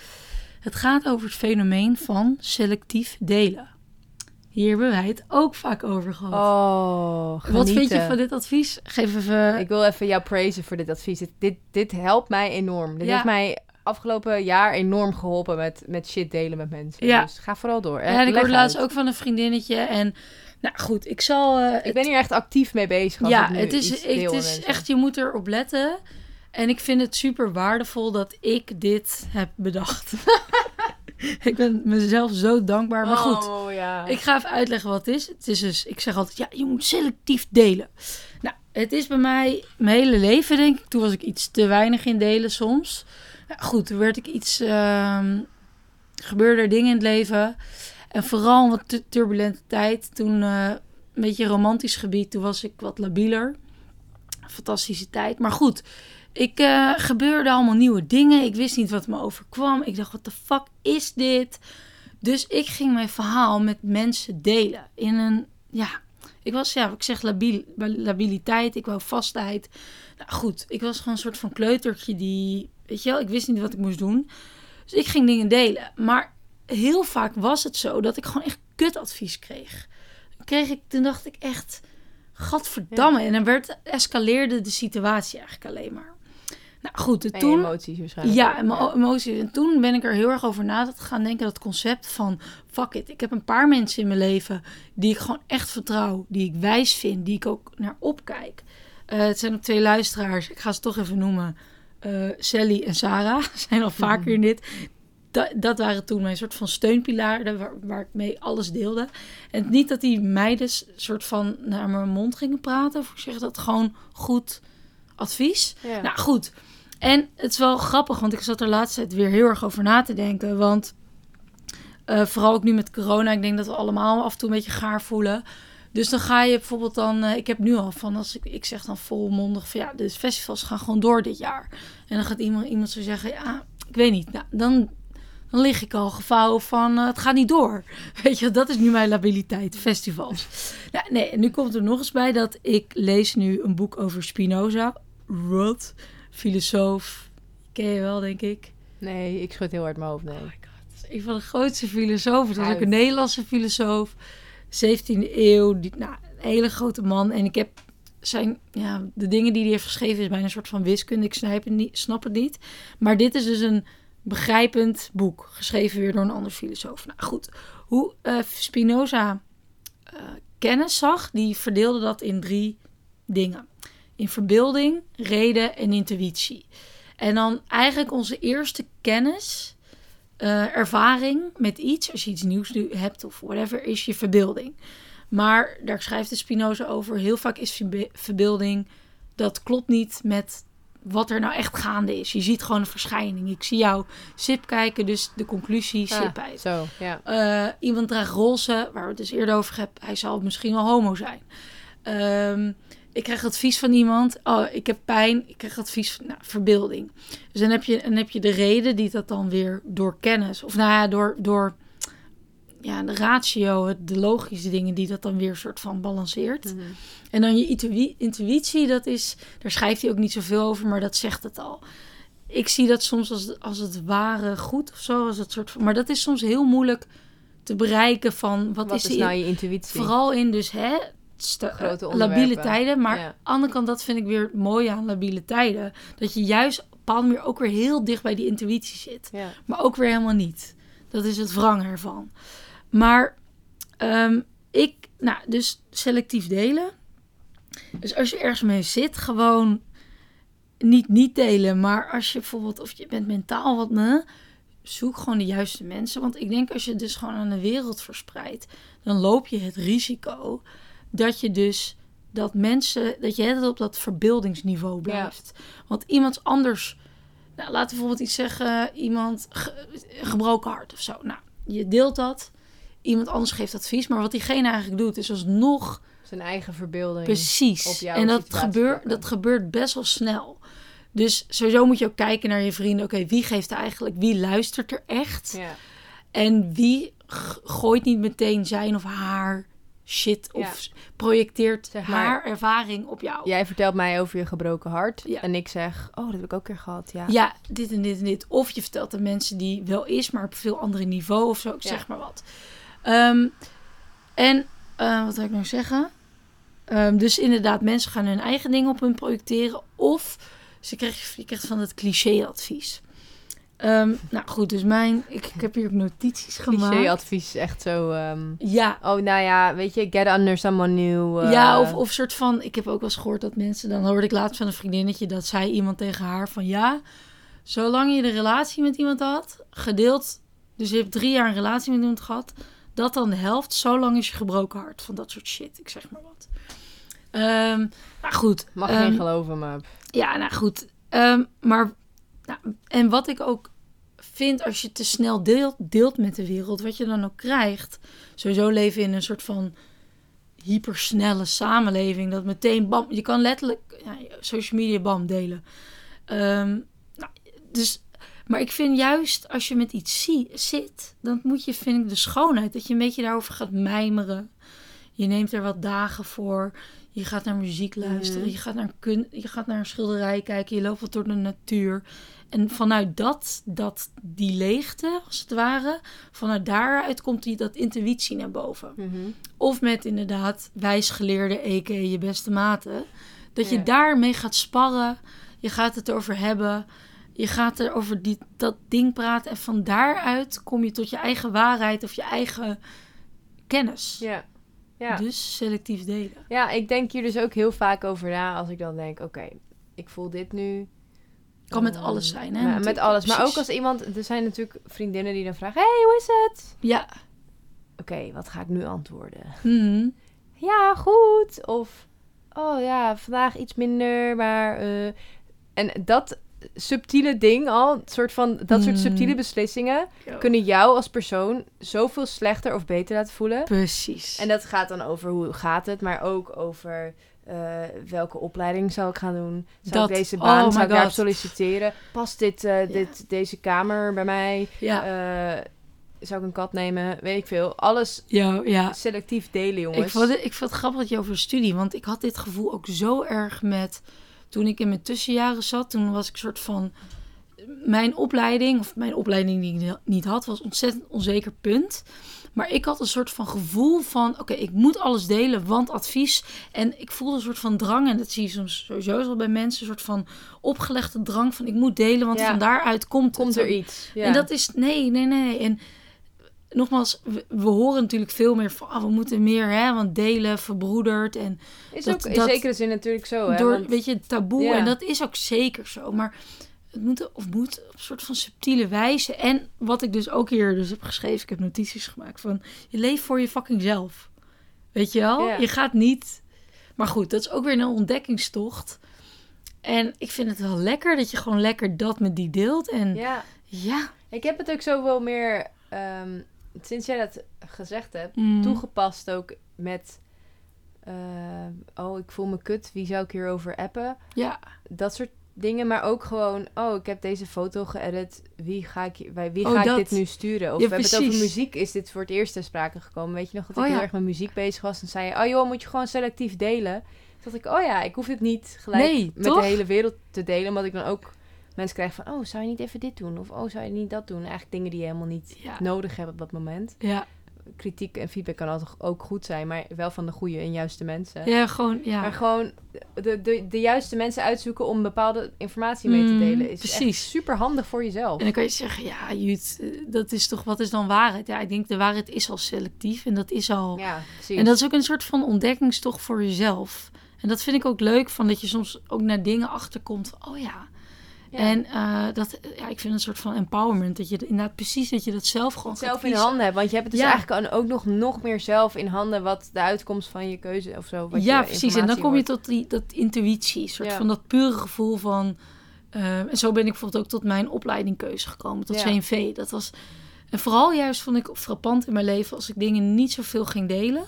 Het gaat over het fenomeen van selectief delen. Hier hebben wij het ook vaak over gehad. Oh, Wat vind je genieten. van dit advies? Geef even... Ik wil even jou praisen voor dit advies. Dit, dit, dit helpt mij enorm. Dit Ja. heeft mij afgelopen jaar enorm geholpen met, met shit delen met mensen. Ja. Dus ga vooral door. ja, en ik Leg hoorde laatst uit. ook van een vriendinnetje. En nou goed, ik zal... eh, Ik ben hier echt actief mee bezig. als ja, ik nu het is, iets ik- deel het met is mensen. echt... Je moet erop letten. En ik vind het super waardevol dat ik dit heb bedacht. *laughs* ik ben mezelf zo dankbaar. Maar goed. Oh, ja. Ik ga even uitleggen wat het is. Het is dus, ik zeg altijd, ja, je moet selectief delen. Nou, het is bij mij mijn hele leven, denk ik. Toen was ik iets te weinig in delen soms. Nou, goed, toen werd ik iets, ehm gebeurde er dingen in het leven. En vooral wat tu- turbulente tijd. Toen eh, een beetje romantisch gebied. Toen was ik wat labieler. Fantastische tijd. Maar goed, ik eh, gebeurde allemaal nieuwe dingen. Ik wist niet wat me overkwam. Ik dacht, wat de fuck is dit? Dus ik ging mijn verhaal met mensen delen. In een, ja, ik was, ja, ik zeg labiel, labiliteit. Ik wou vastheid. Nou goed, ik was gewoon een soort van kleutertje die, weet je wel, ik wist niet wat ik moest doen. Dus ik ging dingen delen. Maar heel vaak was het zo dat ik gewoon echt kutadvies kreeg. Dan kreeg ik, toen dacht ik echt, gadverdamme. En dan werd, escaleerde de situatie eigenlijk alleen maar. Nou goed, en En je toen... emoties waarschijnlijk. Ja, en mijn o- emoties. En toen ben ik er heel erg over na te gaan denken. Dat concept van, fuck it. Ik heb een paar mensen in mijn leven die ik gewoon echt vertrouw. Die ik wijs vind. Die ik ook naar opkijk. Eh, het zijn ook twee luisteraars. Ik ga ze toch even noemen. Eh, Sally en Sarah *laughs* zijn al vaker in dit. Da- dat waren toen mijn soort van steunpilaren waar, waar ik mee alles deelde. En niet dat die meiden s- soort van naar mijn mond gingen praten. Of ik zeg dat gewoon goed advies. Ja. Nou goed. En het is wel grappig, want ik zat er laatst tijd weer heel erg over na te denken. Want eh, vooral ook nu met corona, ik denk dat we allemaal af en toe een beetje gaar voelen. Dus dan ga je bijvoorbeeld dan, eh, ik heb nu al van, als ik, ik zeg dan volmondig van ja, de festivals gaan gewoon door dit jaar. En dan gaat iemand, iemand zo zeggen, ja, ik weet niet. Nou, dan, dan lig ik al gevouwen van, eh, het gaat niet door. *laughs* Weet je, dat is nu mijn labiliteit, festivals. nou, nee, en nu komt er nog eens bij dat ik lees nu een boek over Spinoza. Wat? Filosoof. Ken je wel, denk ik. Nee, ik schud heel hard mijn hoofd. Nee. Oh my god. Dat is een van de grootste filosofen. Dat was ook Uit. een Nederlandse filosoof. 17e eeuw. Die, nou, een hele grote man. En ik heb zijn, ja, de dingen die hij heeft geschreven is bijna een soort van wiskunde. Ik snijp het niet, snap het niet. Maar dit is dus een begrijpend boek. Geschreven weer door een ander filosoof. Nou goed, hoe eh, Spinoza eh, kennis zag, die verdeelde dat in drie dingen. In verbeelding, reden en intuïtie. En dan eigenlijk onze eerste kennis eh, ervaring met iets, als je iets nieuws nu hebt of whatever, is je verbeelding. Maar daar schrijft de Spinoza over. Heel vaak is verbe- verbeelding dat klopt niet met wat er nou echt gaande is. Je ziet gewoon een verschijning. Ik zie jou sip kijken, dus de conclusie Ah, sip uit. zo, ja. Eh, iemand draagt roze, waar we het dus eerder over hebben. Hij zal misschien wel homo zijn. Ehm, ik krijg advies van iemand. Oh, ik heb pijn. Ik krijg advies van nou, verbeelding. Dus dan heb, je, dan heb je de reden die dat dan weer door kennis. Of nou ja, door, door ja, de ratio, het- de logische dingen die dat dan weer soort van balanceert. Mhm. En dan je intuï- intuïtie, dat is, daar schrijft hij ook niet zoveel over, maar dat zegt het al. Ik zie dat soms als, als het ware goed of zo. Als het soort van, maar dat is soms heel moeilijk te bereiken van wat, Wat, is, is, die nou je intuïtie? Vooral in dus hè, sta- eh, Grote labiele onderwerpen. tijden. Maar Ja. aan de andere kant, dat vind ik weer mooi aan labiele tijden. Dat je juist op een bepaalde manier ook weer heel dicht bij die intuïtie zit. Ja. Maar ook weer helemaal niet. Dat is het wrang ervan. Maar ehm, ik, nou, dus selectief delen. Dus als je ergens mee zit, gewoon niet niet delen. Maar als je bijvoorbeeld, of je bent mentaal wat me, zoek gewoon de juiste mensen. Want ik denk als je het dus gewoon aan de wereld verspreidt, dan loop je het risico dat je dus dat mensen, dat je het op dat verbeeldingsniveau blijft. Want iemand anders, nou, laten we bijvoorbeeld iets zeggen, iemand ge- een gebroken hart of zo. Nou, je deelt dat. Iemand anders geeft advies, maar wat diegene eigenlijk doet is alsnog Zijn eigen verbeelding. Precies. op jouw en dat, situatie gebeur, pakken. dat gebeurt best wel snel. Dus sowieso moet je ook kijken naar je vrienden. Oké, wie geeft er eigenlijk, wie luistert er echt? Ja. En wie g- gooit niet meteen zijn of haar shit of s- projecteert Zeg maar- haar ervaring op jou? Jij vertelt mij over je gebroken hart. Ja. En ik zeg, oh, dat heb ik ook een keer gehad. Ja. Ja, dit en dit en dit. Of je vertelt aan mensen die wel is, maar op veel andere niveau of zo. Ik Ja. zeg maar wat. Ehm, en eh, wat wil ik nou zeggen? Ehm, dus inderdaad, mensen gaan hun eigen dingen op hun projecteren. Of ze krijgen, je krijgt van dat cliché-advies. Ehm, nou goed, dus mijn... Ik, ik heb hier ook notities gemaakt. Cliché-advies is echt zo... ehm, Ja, Oh, nou ja, weet je, get under someone new. eh, Ja, of, of soort van, ik heb ook wel eens gehoord dat mensen, dan hoorde ik laatst van een vriendinnetje dat zei iemand tegen haar van ja, zolang je de relatie met iemand had, gedeeld, dus je hebt drie jaar een relatie met iemand gehad, dat dan de helft, zo lang is je gebroken hart van dat soort shit, ik zeg maar wat. Ehm nou goed. Mag ehm, geen geloven, maar... ja, nou goed. Ehm, maar, nou, en wat ik ook vind, als je te snel deelt, deelt met de wereld, wat je dan ook krijgt. Sowieso leven we in een soort van hypersnelle samenleving. Dat meteen, bam, je kan letterlijk ja, social media, bam, delen. Ehm, nou, dus, maar ik vind juist als je met iets zie, zit, dan moet je, vind ik, de schoonheid. Dat je een beetje daarover gaat mijmeren. Je neemt er wat dagen voor. Je gaat naar muziek luisteren. Mhm. Je, gaat naar kun, je gaat naar een schilderij kijken. Je loopt wat door de natuur. En vanuit dat, dat, die leegte, als het ware, vanuit daaruit komt die, dat intuïtie naar boven. Mhm. Of met inderdaad wijsgeleerde, a.k.a. je beste maten. Dat je Ja. daarmee gaat sparren. Je gaat het over hebben. Je gaat er over die, dat ding praten. En van daaruit kom je tot je eigen waarheid of je eigen kennis. Ja. Ja. Dus selectief delen. ja, ik denk hier dus ook heel vaak over na als ik dan denk, oké, ik voel dit nu. Kan met Ehm, alles zijn, hè? maar- met natuurlijk. alles. Maar ook Precies. als iemand... Er zijn natuurlijk vriendinnen die dan vragen, hey, hoe is het? Ja. Oké, wat ga ik nu antwoorden? Mhm. ja, goed. Of, oh ja, vandaag iets minder, maar... eh, En dat subtiele ding al, het soort van, dat soort Mm. subtiele beslissingen... kunnen jou als persoon zoveel slechter of beter laten voelen. Precies. En dat gaat dan over hoe gaat het, maar ook over eh, welke opleiding zou ik gaan doen. Zou Dat- ik deze oh baan, my zou ik daarop God. solliciteren? Past dit, eh, dit, deze kamer bij mij? ja. Eh, zou ik een kat nemen? Weet ik veel. Alles ja, ja. selectief delen, jongens. Ik vond, het, ik vond het grappig dat je over studie, want ik had dit gevoel ook zo erg met toen ik in mijn tussenjaren zat. Toen was ik soort van mijn opleiding, of mijn opleiding die ik ni- niet had, was ontzettend onzeker punt. Maar ik had een soort van gevoel van, oké, ik moet alles delen, want advies. En ik voelde een soort van drang, en dat zie je soms sowieso wel bij mensen, een soort van opgelegde drang van ik moet delen, want Ja. van daaruit komt, Komt het. er iets? Ja. En dat is, nee, nee, nee. En nogmaals, we, we horen natuurlijk veel meer van, ah, we moeten meer, hè, want delen, verbroederd en is dat- ook in dat- zekere zin natuurlijk zo, hè? door, Oh, want- weet je, taboe. Ja. En dat is ook zeker zo, maar het moet, of moet op een soort van subtiele wijze. En wat ik dus ook hier dus heb geschreven, ik heb notities gemaakt van, je leeft voor je fucking zelf. Weet je wel? Ja. Je gaat niet... Maar goed, dat is ook weer een ontdekkingstocht. En ik vind het wel lekker dat je gewoon lekker dat met die deelt. En ja. ja. Ik heb het ook zo wel meer, ehm, sinds jij dat gezegd hebt, Mm. toegepast ook met eh, eh, oh, ik voel me kut, wie zou ik hierover appen? Ja, Dat soort dingen, maar ook gewoon, oh, ik heb deze foto geëdit, wie ga ik, hier- bij wie Oh, ga dat. ik dit nu sturen? Of Ja, we hebben het over precies. muziek, is dit voor het eerst ter sprake gekomen? Weet je nog dat ik Oh, ja. heel erg met muziek bezig was? En zei je, oh joh, moet je gewoon selectief delen? Toen dacht ik, oh ja, ik hoef dit niet gelijk nee, met toch? de hele wereld te delen, omdat ik dan ook mensen krijg van, oh, zou je niet even dit doen? Of, oh, zou je niet dat doen? Eigenlijk dingen die je helemaal niet Ja. nodig hebt op dat moment Ja, kritiek en feedback kan altijd ook goed zijn, maar wel van de goede en juiste mensen. ja, gewoon, ja. Maar gewoon de, de, de juiste mensen uitzoeken om bepaalde informatie mee te Mm, delen is precies. super handig voor jezelf. En dan kan je zeggen, ja, Jut, eh, dat is toch, wat is dan waarheid? Ja, ik denk de waarheid is al selectief en dat is al... Ja, precies. en dat is ook een soort van ontdekkingstocht voor jezelf. En dat vind ik ook leuk, van dat je soms ook naar dingen achterkomt. van, Oh ja, Ja. En eh, dat, ja, ik vind een soort van empowerment. Dat je inderdaad precies dat je dat zelf gewoon Het gaat zelf in kiezen. handen hebben, want je hebt het dus Ja. eigenlijk dan ook nog, nog meer zelf in handen wat de uitkomst van je keuze of zo. Wat Ja, je precies. En dan informatie kom je wordt. tot die, dat intuïtie. Een soort Ja. van dat pure gevoel van... eh, en zo ben ik bijvoorbeeld ook tot mijn opleidingkeuze gekomen. Tot Ja. CNV. Dat was... En vooral juist vond ik frappant in mijn leven... als ik dingen niet zoveel ging delen.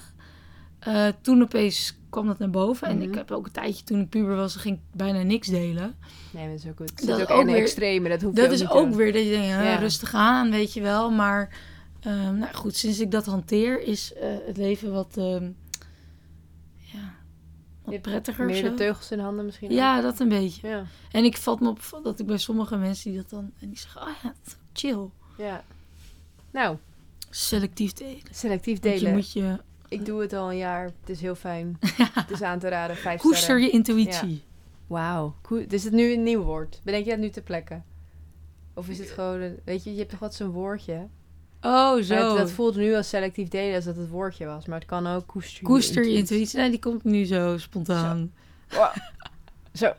Eh, toen opeens kwam dat naar boven. En Mhm. ik heb ook een tijdje toen ik puber was... ging ik bijna niks delen. Nee, dat is ook goed. Het Dat zit ook, ook in de weer- extreme, dat hoeft Dat ook is niet ook te weer dat je denkt, hè, Ja. rustig aan, weet je wel. Maar ehm, nou goed, sinds ik dat hanteer, is eh, het leven wat, ehm, ja, Je wat doen. prettiger. of Meer de Zo. teugels in handen misschien. Ja, dat een beetje. Ja. En ik vat me op dat ik bij sommige mensen die dat dan... En die zeggen, oh ja, het is chill. ja. Nou, Selectief delen. selectief Want je delen. moet je... Ik doe het al een jaar. Het is heel *laughs* fijn. Het is aan te raden. Vijf Koester sterren. je intuïtie. Wauw. Koe- Is het nu een nieuw woord? Bedenk je dat nu ter plekke? Of is het gewoon... een- weet je, je hebt toch wat zo'n woordje? Oh, Maar het- zo. dat voelt nu als selectief delen als dat het woordje was. Maar het kan ook koester je Koester je intuïtie. Nee, die komt nu zo spontaan. Wow. Zo.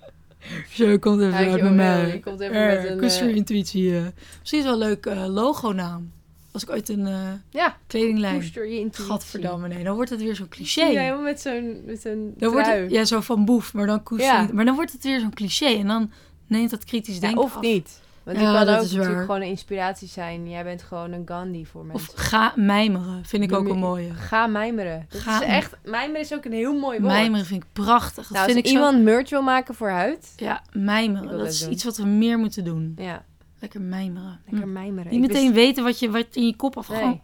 Zo komt even Ja, ik- uit bij oh, mij. je komt even met Eh, een, Koester je eh, intuïtie. eh. Misschien is wel een leuk eh, logonaam. Als ik ooit een eh, Ja, kledinglijn... koester je intuïtie. Gadverdamme, nee. Dan wordt het weer zo'n cliché. Ja, helemaal met zo'n met zo'n Dan wordt trui. het, ja, zo van boef, maar dan koester Ja. je- Maar dan wordt het weer zo'n cliché. En dan neemt dat kritisch Ja, denken of af. niet. Want Ja, die kan dat ook is natuurlijk waar. gewoon een inspiratie zijn. Jij bent gewoon een Gandhi voor Of mensen. ga mijmeren, vind ik Doe ook me- een mooie. Ga mijmeren. Dat Ga- is echt... Mijmeren is ook een heel mooi woord. Mijmeren vind ik prachtig. Dat Nou, als vind ik iemand merch wil maken voor huid... zo... Ja, Ik mijmeren. wil Dat dat is doen. iets wat we meer moeten doen. Ja, Lekker mijmeren. lekker Hm. mijmeren. Niet Ik meteen weten wat, je, wat in je kop wist- afgaat. Nee.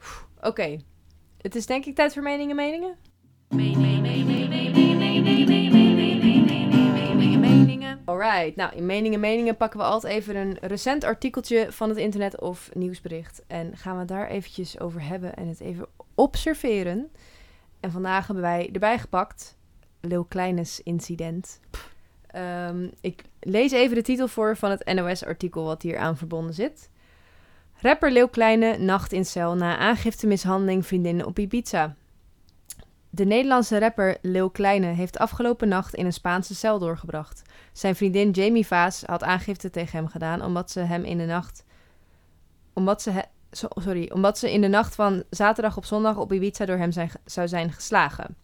Oeh, Oké. Het is denk ik tijd voor meningen meningen. Meningen. Alright. Nou, in meningen meningen pakken we altijd even een recent artikeltje van het internet of nieuwsbericht. En gaan we het daar eventjes over hebben en het even observeren. En vandaag hebben wij erbij gepakt Lil Kleines incident. Ehm, ik lees even de titel voor van het NOS-artikel wat hier aan verbonden zit. Rapper Leeuw Kleine nacht in cel na aangifte mishandeling vriendinnen op Ibiza. De Nederlandse rapper Leeuw Kleine heeft afgelopen nacht in een Spaanse cel doorgebracht. Zijn vriendin Jamie Vaas had aangifte tegen hem gedaan omdat ze hem in de nacht... Omdat ze, he- zo- sorry, omdat ze in de nacht van zaterdag op zondag op Ibiza door hem zijn, ge- zou zijn geslagen.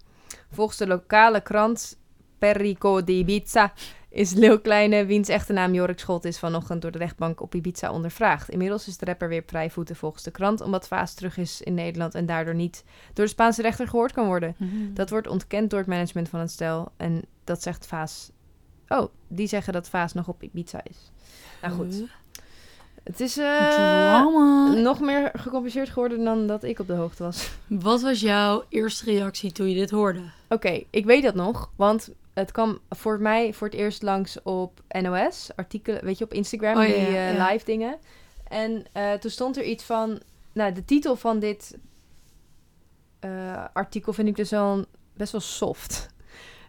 Volgens de lokale krant Perico de Ibiza is Leeuw Kleine, wiens echte naam Jorik Scholt is, vanochtend door de rechtbank op Ibiza ondervraagd. Inmiddels is de rapper weer vrijvoeten volgens de krant, omdat Vaas terug is in Nederland en daardoor niet door de Spaanse rechter gehoord kan worden. Mhm. Dat wordt ontkend door het management van het stel en dat zegt Vaas... Oh, die zeggen dat Vaas nog op Ibiza is. Nou goed, Eh, het is eh, Drama. nog meer gecompliceerd geworden dan dat ik op de hoogte was. Wat was jouw eerste reactie toen je dit hoorde? Oké, ik weet dat nog, want het kwam voor mij voor het eerst langs op NOS, artikelen, weet je, op Instagram, Oh, ja, die ja, eh, ja. live dingen. En eh, toen stond er iets van, nou, de titel van dit eh, artikel vind ik dus wel een- best wel soft.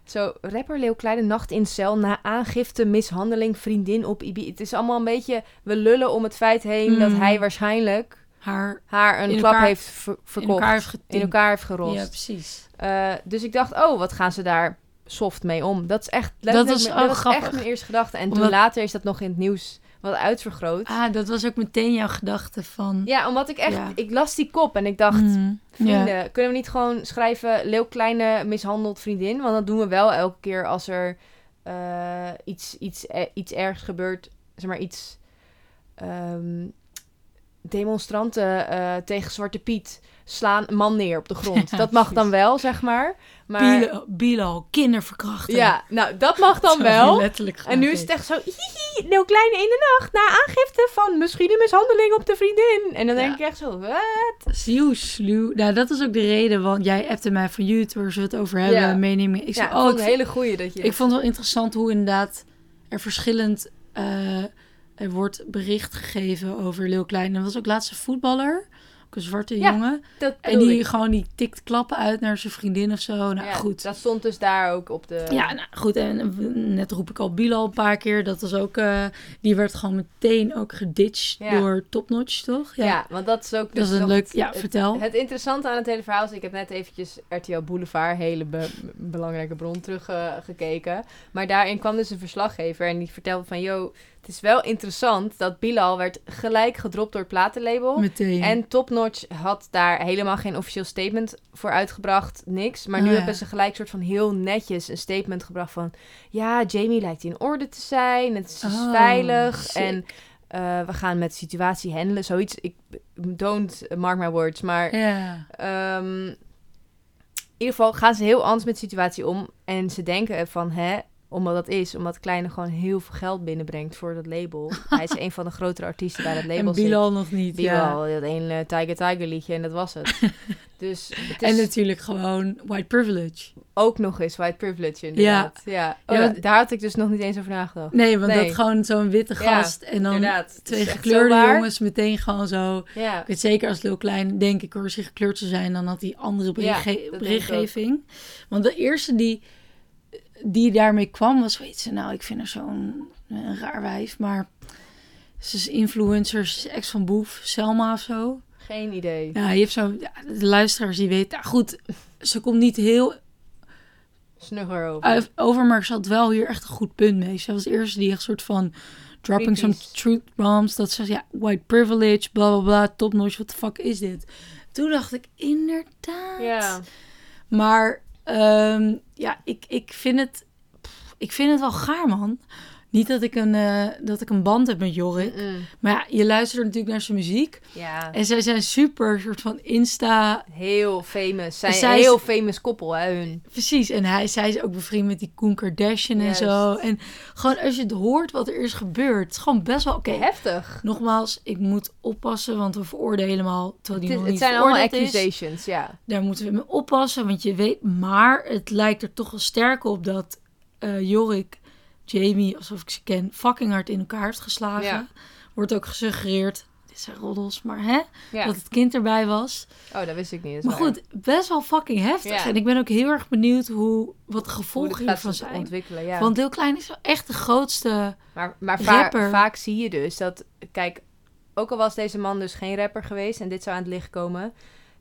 Zo, rapper Leeuw Kleine nacht in cel na aangifte, mishandeling, vriendin op Ibiza. Het is allemaal een beetje, we lullen om het feit heen dat Mm. hij waarschijnlijk Haar haar een In klap elkaar- heeft ver- verkocht, in elkaar heeft getimpt. in elkaar heeft gerost. Ja, precies. Eh, dus ik dacht, oh, wat gaan ze daar soft mee om? Dat is echt letterlijk was mijn- ook dat was echt grappig. mijn eerste gedachte. En toen Omdat- later is dat nog in het nieuws wat uitvergroot. Ah, dat was ook meteen jouw gedachte van... Ja, omdat ik echt, Ja. ik las die kop en ik dacht, Mhm. vrienden, Ja. kunnen we niet gewoon schrijven Leeuw Kleine mishandeld vriendin? Want dat doen we wel elke keer als er eh, iets, iets, eh, iets ergs gebeurt, zeg maar iets ehm, demonstranten eh, tegen Zwarte Piet slaan een man neer op de grond. Ja, dat mag precies. dan wel, zeg maar. maar Bilo, Bilo, kinderverkrachten. Ja, nou, dat mag dan Zo wel. Letterlijk En nu is het echt zo, hihi, Leeuw Kleine in de nacht, na aangifte van misschien een mishandeling op de vriendin. En dan Ja. denk ik echt zo, wat? Zieuw, sluw. Nou, dat is ook de reden, want jij appte mij van YouTubers we het over hebben, Ja. meenemen. Ik zei, Ja, ik oh, vond ik, het vind- hele goeie dat je... ik vond het wel interessant hoe inderdaad er verschillend eh, er wordt bericht gegeven over Leeuw Klein. Er was ook laatst een voetballer, ook een zwarte Ja, jongen. dat En bedoelde die ik. gewoon, die tikt klappen uit naar zijn vriendin of zo. Nou, Ja, goed. Dat stond dus daar ook op de... Ja, nou, goed. En net roep ik al Bilal een paar keer. Dat was ook, eh, die werd gewoon meteen ook geditcht Ja. door Topnotch, toch? Ja, want dat is ook... Dat dus is een nog leuk, het- ja, het- vertel. Het interessante aan het hele verhaal is, ik heb net eventjes RTL Boulevard, hele be- belangrijke bron, teruggekeken. maar daarin kwam dus een verslaggever en die vertelde van, yo, het is wel interessant dat Bilal werd gelijk gedropt door het platenlabel. meteen. En Topnotch had daar helemaal geen officieel statement voor uitgebracht, niks. Maar nu Oh ja. hebben ze gelijk soort van heel netjes een statement gebracht van... Ja, Jamie lijkt in orde te zijn, het is Oh, veilig sick. en eh, we gaan met de situatie handelen. Zoiets, ik don't mark my words, maar... ja. ehm, in ieder geval gaan ze heel anders met de situatie om. En ze denken van, hè, omdat dat is, omdat Kleine gewoon heel veel geld binnenbrengt voor dat *laughs* label. Hij is een van de grotere artiesten bij dat label. en zit. Bilal nog niet. Ja. Bilal, dat één eh, Tiger Tiger liedje en dat was *laughs* het. dus het is En natuurlijk gewoon white privilege. ook nog eens white privilege inderdaad. Ja, Oh, Ja, da- want- daar had ik dus nog niet eens over nagedacht. Nee, want Nee. dat gewoon zo'n witte Ja, gast en dan inderdaad. Het twee is echt gekleurde zo waar. jongens meteen gewoon zo. Ja, Ik weet zeker als Lil Klein, denk ik hoor, zich gekleurd te zijn, dan had hij andere Ja, berichtge- dat denk berichtgeving. Want de eerste die, die daarmee kwam was, weet ze, nou, ik vind haar zo'n eh, raar wijf, maar ze is influencer, ze is ex van Boef, Selma of zo. geen idee. Ja, je hebt zo, ja, de luisteraars die weten, nou goed, ze komt niet heel Snugger over. uit- over, maar ze had wel hier echt een goed punt mee. Ze was de eerste die echt soort van dropping some Kritisch. truth bombs, dat ze ja, white privilege, bla bla bla, topnotch, what the fuck is dit? Toen dacht ik, inderdaad. ja, Maar ehm, ja, ik, ik, vind het, pff, ik vind het wel gaar, man. Niet dat ik een, eh, dat ik een band heb met Jorrit. Mm-mm. Maar ja, je luistert natuurlijk naar zijn muziek. ja. Mm. En zij zijn super soort van insta. Heel famous. Zijn Zij is- heel famous koppel, hè, hun. Precies. En hij, zij is ook bevriend met die Koen Kardashian Juist. en zo. En gewoon als je het hoort wat er is gebeurd. Het is gewoon best wel oké. Heftig. Nogmaals, Nogmaals, ik moet oppassen, want we veroordelen hem al. het, Terwijl die is- nog het niet zijn allemaal veroordeeld is. accusations, ja. daar moeten we mee oppassen, want je weet, maar het lijkt er toch wel sterk op dat eh, Jorik, Jamie, alsof ik ze ken, fucking hard in elkaar heeft geslagen. Ja. Wordt ook gesuggereerd, dit zijn roddels, maar hè, ja. dat het kind erbij was. Oh, dat wist ik niet. dat is Maar waar. goed, best wel fucking heftig. Ja. En ik ben ook heel erg benieuwd hoe, wat de Hoe dit gevolgen gaat hiervan zich zijn. ontwikkelen, ja. Want Deel Klein is wel echt de grootste. Maar, maar va- Rapper. vaak zie je dus dat, kijk, ook al was deze man dus geen rapper geweest en dit zou aan het licht komen,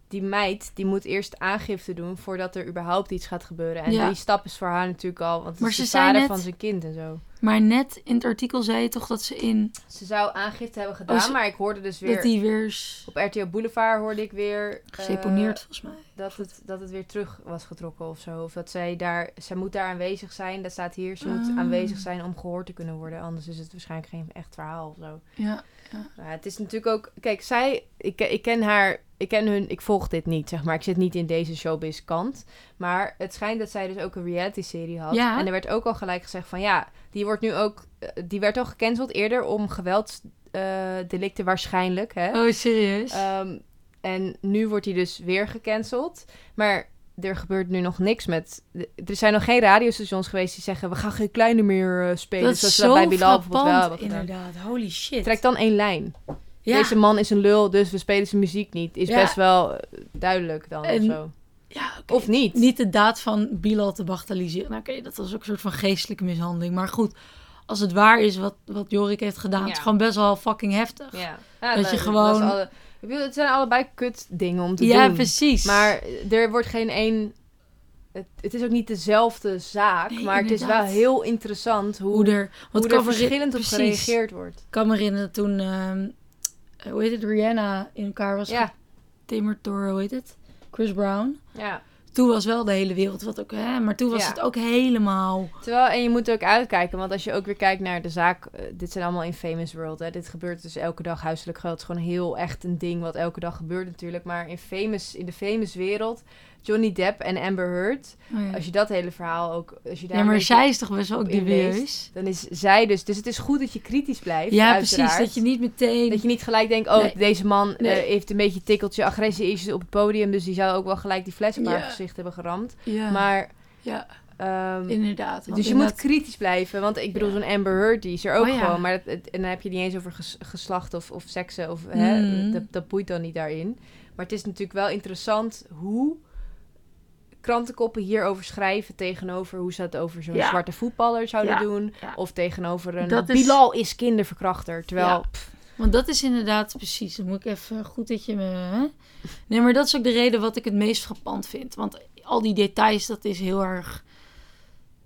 die meid die moet eerst aangifte doen voordat er überhaupt iets gaat gebeuren. En Ja. die stap is voor haar natuurlijk al, want het Maar is ze de zei vader net- van zijn kind en zo. Maar net in het artikel zei je toch dat ze in. Ze zou aangifte hebben gedaan, Oh, ze- maar ik hoorde dus weer Dat die weer is op RTL Boulevard hoorde ik weer eh, geseponeerd, volgens mij. dat, het, dat het weer terug was getrokken of zo. Of dat zij daar, zij moet daar aanwezig zijn. Dat staat hier, ze moet Ah. aanwezig zijn om gehoord te kunnen worden. Anders is het waarschijnlijk geen echt verhaal of zo. Ja. Ja, het is natuurlijk ook... Kijk, zij... Ik, ik ken haar... Ik ken hun... Ik volg dit niet, zeg maar. Ik zit niet in deze showbiz kant. Maar het schijnt dat zij dus ook een reality-serie had. Ja. En er werd ook al gelijk gezegd van... Ja, die wordt nu ook... eh, Die werd al gecanceld eerder om geweldsdelicten waarschijnlijk, hè? Oh, serieus? Ehm, en nu wordt hij dus weer gecanceld. Maar er gebeurt nu nog niks met... Er zijn nog geen radiostations geweest die zeggen... We gaan geen kleine meer eh, spelen. dat is zoals ze zo bij Bilal bijvoorbeeld wel frappant, hebben gedaan. inderdaad. Holy shit. Trek dan één lijn. ja. Deze man is een lul, dus we spelen zijn muziek niet. Is Ja. best wel eh, duidelijk dan En- of zo. ja, oké. Of niet. Niet de daad van Bilal te bagatelliseren. Nou, oké, dat was ook een soort van geestelijke mishandeling. Maar goed, als het waar is wat, wat Jorik heeft gedaan, het is Ja. gewoon best wel fucking heftig. Ja. Ja, je was gewoon- alle- Ik bedoel, het zijn allebei kut dingen om te Ja, doen. precies. Maar eh, er wordt geen één... Het, het is ook niet dezelfde zaak, Nee, maar het is wel inderdaad. heel interessant hoe, hoe er, want hoe ik kan er me herinner- verschillend op precies. gereageerd wordt. Ik kan me herinneren toen, ehm, eh, hoe heet het, Rihanna in elkaar was Ja, getimmerd door, hoe heet het, Chris Brown. ja. Toen toen was wel de hele wereld wat ook, hè, maar toen was Ja. het ook helemaal. oh Terwijl, en je moet ook uitkijken, want als je ook weer kijkt naar de zaak, eh, dit zijn allemaal in Famous World, hè. dit gebeurt dus elke dag huiselijk geweld. Het is gewoon heel echt een ding wat elke dag gebeurt natuurlijk, maar in, famous, in de Famous wereld, Johnny Depp en Amber Heard, als je dat hele verhaal ook, als je daar ja, een maar beetje- zij is toch best wel ook op inleest. dubieus. dan is zij dus, dus het is goed dat je kritisch blijft, Ja, uiteraard. precies. Dat je niet meteen. Dat je niet gelijk denkt, oh, Nee. deze man eh, Nee. heeft een beetje tikkeltje agressie issues op het podium, dus die zou ook wel gelijk die fles op haar Ja. gezicht hebben geramd. ja, Maar ja, ehm, inderdaad. want dus je moet inderdaad- kritisch blijven, want ik bedoel, Ja. zo'n Amber Heard, die is er ook Oh ja. gewoon. Maar dat, het- en dan heb je niet eens over ges- geslacht of, of seksen, of, hè, Mm. dat, dat boeit dan niet daarin. Maar het is natuurlijk wel interessant hoe krantenkoppen hierover schrijven tegenover hoe ze het over zo'n Ja. zwarte voetballer zouden Ja, doen. ja. Of tegenover een Dat is- Bilal is kinderverkrachter, terwijl... Ja. Want dat is inderdaad precies. Dan moet ik even goed dat je me. hè? Nee, maar dat is ook de reden wat ik het meest frappant vind. Want al die details, dat is heel erg.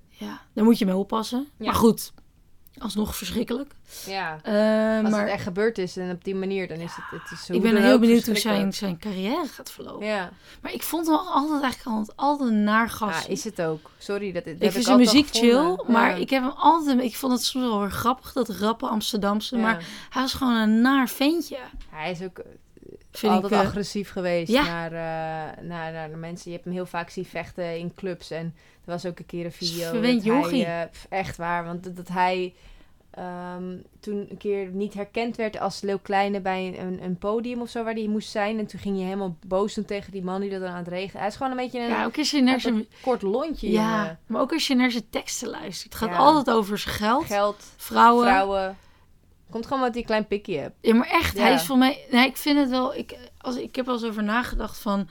Ja, daar moet je mee oppassen. Ja. Maar goed, alsnog verschrikkelijk. ja. Eh, Als maar het echt gebeurd is en op die manier, dan is het... het is ik ben heel benieuwd hoe zijn, zijn carrière gaat verlopen. Ja, Maar ik vond hem altijd eigenlijk altijd, altijd een naar ah, gast. is het ook. Sorry, dat, dat ik heb vind altijd al zijn muziek gevonden. chill, maar Ja. ik heb hem altijd... Ik vond het soms wel weer grappig, dat rappe Amsterdamse. Ja. Maar hij was gewoon een naar ventje, Hij is ook eh, vind altijd ik. eh, agressief geweest ja. naar, eh, naar, naar de mensen. Je hebt hem heel vaak zien vechten in clubs. En er was ook een keer een video dat verwend hij... jochie. eh, pff, echt waar, want dat, dat hij ehm, toen een keer niet herkend werd als Leeuw Kleine bij een, een podium of zo waar hij moest zijn. En toen ging hij helemaal boos doen tegen die man die dat dan aan het regelen. Hij is gewoon een beetje een ja, ook als je naar altijd zijn... kort lontje, eh, Ja, jongen. maar ook als je naar zijn teksten luistert. Het gaat Ja. altijd over zijn geld, Geld, vrouwen. vrouwen. Komt gewoon wat die klein pikkie hebt. Ja, maar echt, Ja. hij is voor mij... Nee, ik vind het wel... Ik, als, ik heb wel eens over nagedacht van...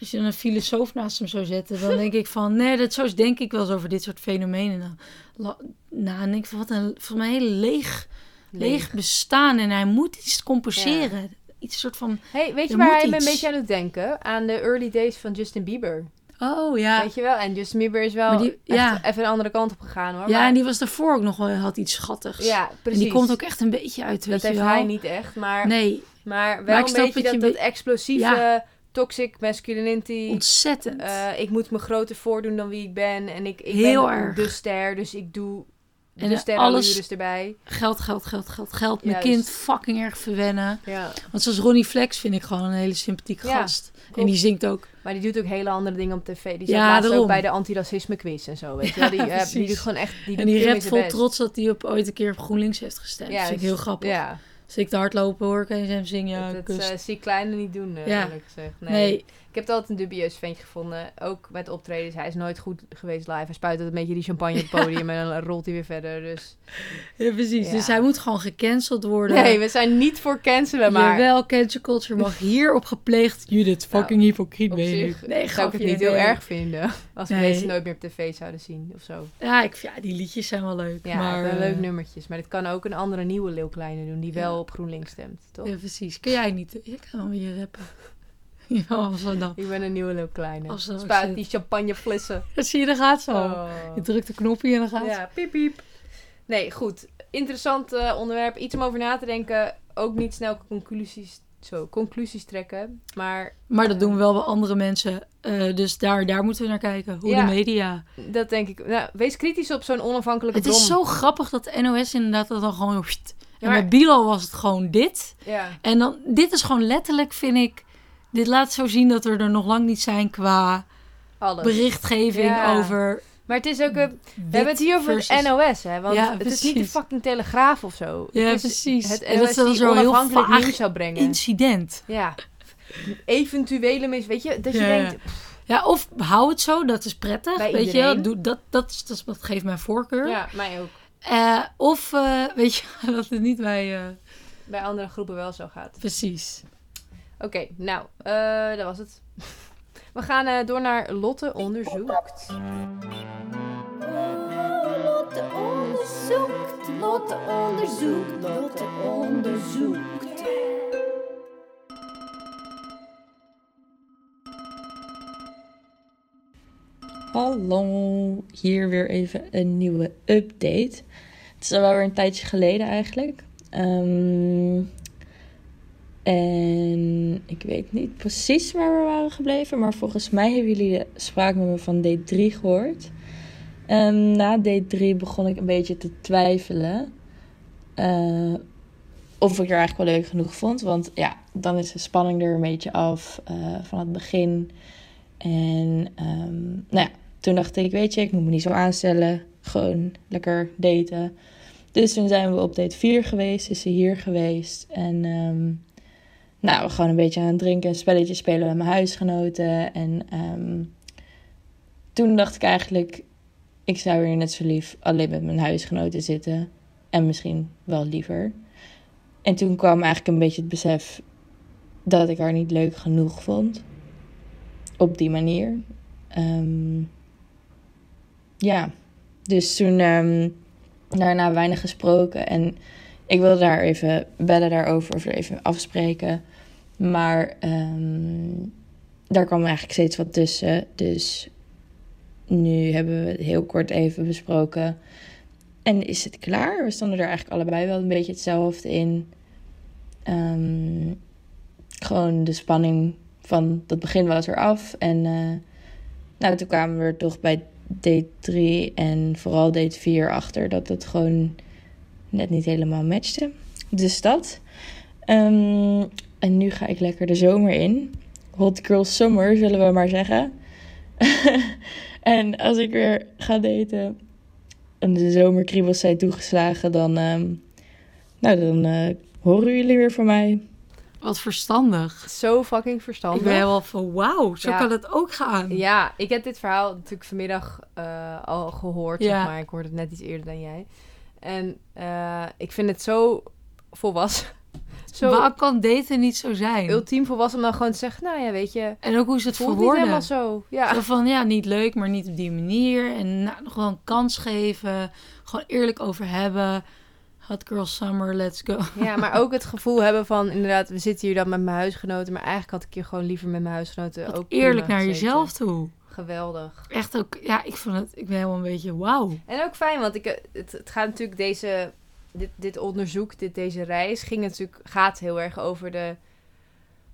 Als je dan een filosoof naast hem zou zetten, dan denk ik van... Nee, dat, zo denk ik wel eens over dit soort fenomenen. Dan, la- nou, dan denk ik van, wat een... Voor mij een heel leeg, leeg. bestaan. En hij moet iets compenseren. Iets soort van... Hey, weet je Er waar moet hij me een iets. beetje aan doet denken? Aan de early days van Justin Bieber. Oh, ja. Weet je wel? En Justin Bieber is wel Maar die- echt ja. even een andere kant op gegaan hoor. Ja, Maar- en die was daarvoor ook nog wel... Had iets schattigs. ja precies. En die komt ook echt een beetje uit, weet dat je heeft wel. hij niet echt, maar, Nee, maar wel Maar ik een snap beetje wat dat, je dat be- explosieve, toxic masculinity. ontzettend. Eh, ik moet me groter voordoen dan wie ik ben. En ik, ik Heel ben erg. de ster, dus ik doe En de eh, sterrenlures alles- erbij. Geld, geld, geld, geld, geld. Mijn Juist. kind fucking erg verwennen. Ja. Want zoals Ronnie Flex vind ik gewoon een hele sympathieke Ja, gast. En klopt. die zingt ook. Maar die doet ook hele andere dingen op tv. Die zat Ja, laatst ook daarom. bij de antiracisme quiz en zo. Weet je wel? Die, *laughs* Ja, eh, die precies. doet gewoon echt... Die doet en die prima rapt zijn vol best. trots dat hij op ooit een keer op GroenLinks heeft gestemd. Ja, dus- dat vind ik heel grappig. Ja, Als ik te hardlopen hoor, kan je hem zingen. Ja, dat kust. eh, zie ik kleine niet doen, eh, Ja. eerlijk gezegd. nee. Ik heb het altijd een dubieus ventje gevonden. Ook met optredens. Hij is nooit goed geweest live. Hij spuit altijd een beetje die champagne op het *laughs* podium en dan rolt hij weer verder. Dus Ja, precies. Ja. Dus hij moet gewoon gecanceld worden. nee, we zijn niet voor cancelen, maar Jawel, cancel culture *laughs* mag hierop gepleegd. Judith, Nou, fucking hypocriet op ben je. zich nu. Nee, zou ik het grapje, niet heel nee. erg vinden. *laughs* Als we Nee. deze nooit meer op tv zouden zien of zo. Ja, ik, ja, die liedjes zijn wel leuk. Ja, maar, wel eh, leuk nummertjes. Maar dit kan ook een andere nieuwe Leeuw Kleine doen die wel Ja. op GroenLinks stemt, toch? Ja, precies. Kun jij niet? Ik kan wel weer rappen. *laughs* Ja, Amsterdam. Ik ben een nieuwe Leeuw Kleine. Als dat ook Spuit zit. die champagneflessen. Zie je, daar gaat zo. Oh. Je drukt de knopje en dan gaat Ja, piep piep. Nee, goed. Interessant eh, onderwerp. Iets om over na te denken. Ook niet snel conclusies, zo, conclusies trekken. Maar Maar dat doen we wel bij andere mensen. Eh, dus daar, daar moeten we naar kijken. Hoe Ja. de media. dat denk ik... Nou, wees kritisch op zo'n onafhankelijke Het is bron. zo grappig dat de NOS inderdaad dat dan gewoon... pssst. Ja, En bij maar- Bilo was het gewoon dit. Ja. En dan, dit is gewoon letterlijk, vind ik... Dit laat zo zien dat we er nog lang niet zijn qua Alles. berichtgeving Ja. over... Maar het is ook... een- we hebben het wit hier over versus- het NOS, hè? Want Ja, het is niet de precies. fucking Telegraaf of zo. Ja, het is precies. Het En NOS dat ze dan die zo heel onafhankelijk vaag nieuws zou brengen. Incident. Ja. Eventuele mis... Weet je, dat je Ja, ja. denkt... pff, Ja, of hou het zo, dat is prettig. Bij weet je, iedereen. wel, doe, dat, dat, is- dat, is- dat geeft mij voorkeur. Ja, mij ook. Eh, of, eh, *laughs* weet je, dat het niet bij... eh, Bij andere groepen wel zo gaat. precies. Oké, nou, eh, dat was het. *laughs* We gaan eh, door naar Lotte onderzoekt. Lotte onderzoekt, Lotte onderzoekt, Lotte onderzoekt. Hallo, hier weer even een nieuwe update. Het is al wel weer een tijdje geleden eigenlijk. Ehm, en Ik weet niet precies waar we waren gebleven, maar volgens mij hebben jullie de spraak met me van D3 gehoord. En na D3 begon ik een beetje te twijfelen eh, of ik er eigenlijk wel leuk genoeg vond. Want ja, dan is de spanning er een beetje af eh, van het begin. En ehm, nou ja, toen dacht ik, weet je, ik moet me niet zo aanstellen. Gewoon lekker daten. Dus toen zijn we op date 4 geweest, is ze hier geweest. En ehm, nou, we gewoon een beetje aan het drinken, een spelletje spelen met mijn huisgenoten. En ehm, toen dacht ik eigenlijk, ik zou weer net zo lief alleen met mijn huisgenoten zitten. En misschien wel liever. En toen kwam eigenlijk een beetje het besef dat ik haar niet leuk genoeg vond. Op die manier. Ehm, ja, dus toen ehm, daarna weinig gesproken. En ik wilde daar even bellen daarover of er even afspreken. Maar ehm, daar kwam eigenlijk steeds wat tussen. Dus nu hebben we het heel kort even besproken. En is het klaar? We stonden er eigenlijk allebei wel een beetje hetzelfde in. Ehm, gewoon de spanning van dat begin was eraf. En eh, nou, toen kwamen we er toch bij date 3 en vooral date 4 achter dat het gewoon net niet helemaal matchte. Dus dat. Ehm, en nu ga ik lekker de zomer in. Hot girl summer, zullen we maar zeggen. *laughs* en als ik weer ga daten en de zomerkriebels zijn toegeslagen, dan, ehm, nou, dan eh, horen jullie weer van mij. Wat verstandig. Zo fucking Ik verstandig. ben helemaal van wauw, zo Ja. kan het ook gaan. Ja, ik heb dit verhaal natuurlijk vanmiddag eh, al gehoord, Ja. zeg maar ik hoorde het net iets eerder dan jij. En eh, ik vind het zo volwassen. *laughs* Zo Waarom kan daten niet zo zijn? ultiem volwassen om dan gewoon te zeggen, nou ja, weet je, en ook hoe ze het het voelt niet verwoorden. helemaal zo. Ja. Zo van ja, niet leuk, maar niet op die manier. En nou, nog wel een kans geven. Gewoon eerlijk over hebben. Hot girl summer, let's go. ja, maar ook het gevoel hebben van, inderdaad, we zitten hier dan met mijn huisgenoten, maar eigenlijk had ik hier gewoon liever met mijn huisgenoten Wat ook eerlijk prima naar gezeten. jezelf toe. Geweldig. Echt ook, ja, ik vond het, ik ben helemaal een beetje wauw. En ook fijn, want ik, eh, het, het gaat natuurlijk deze, dit, dit onderzoek, dit, deze reis, ging natuurlijk, gaat heel erg over de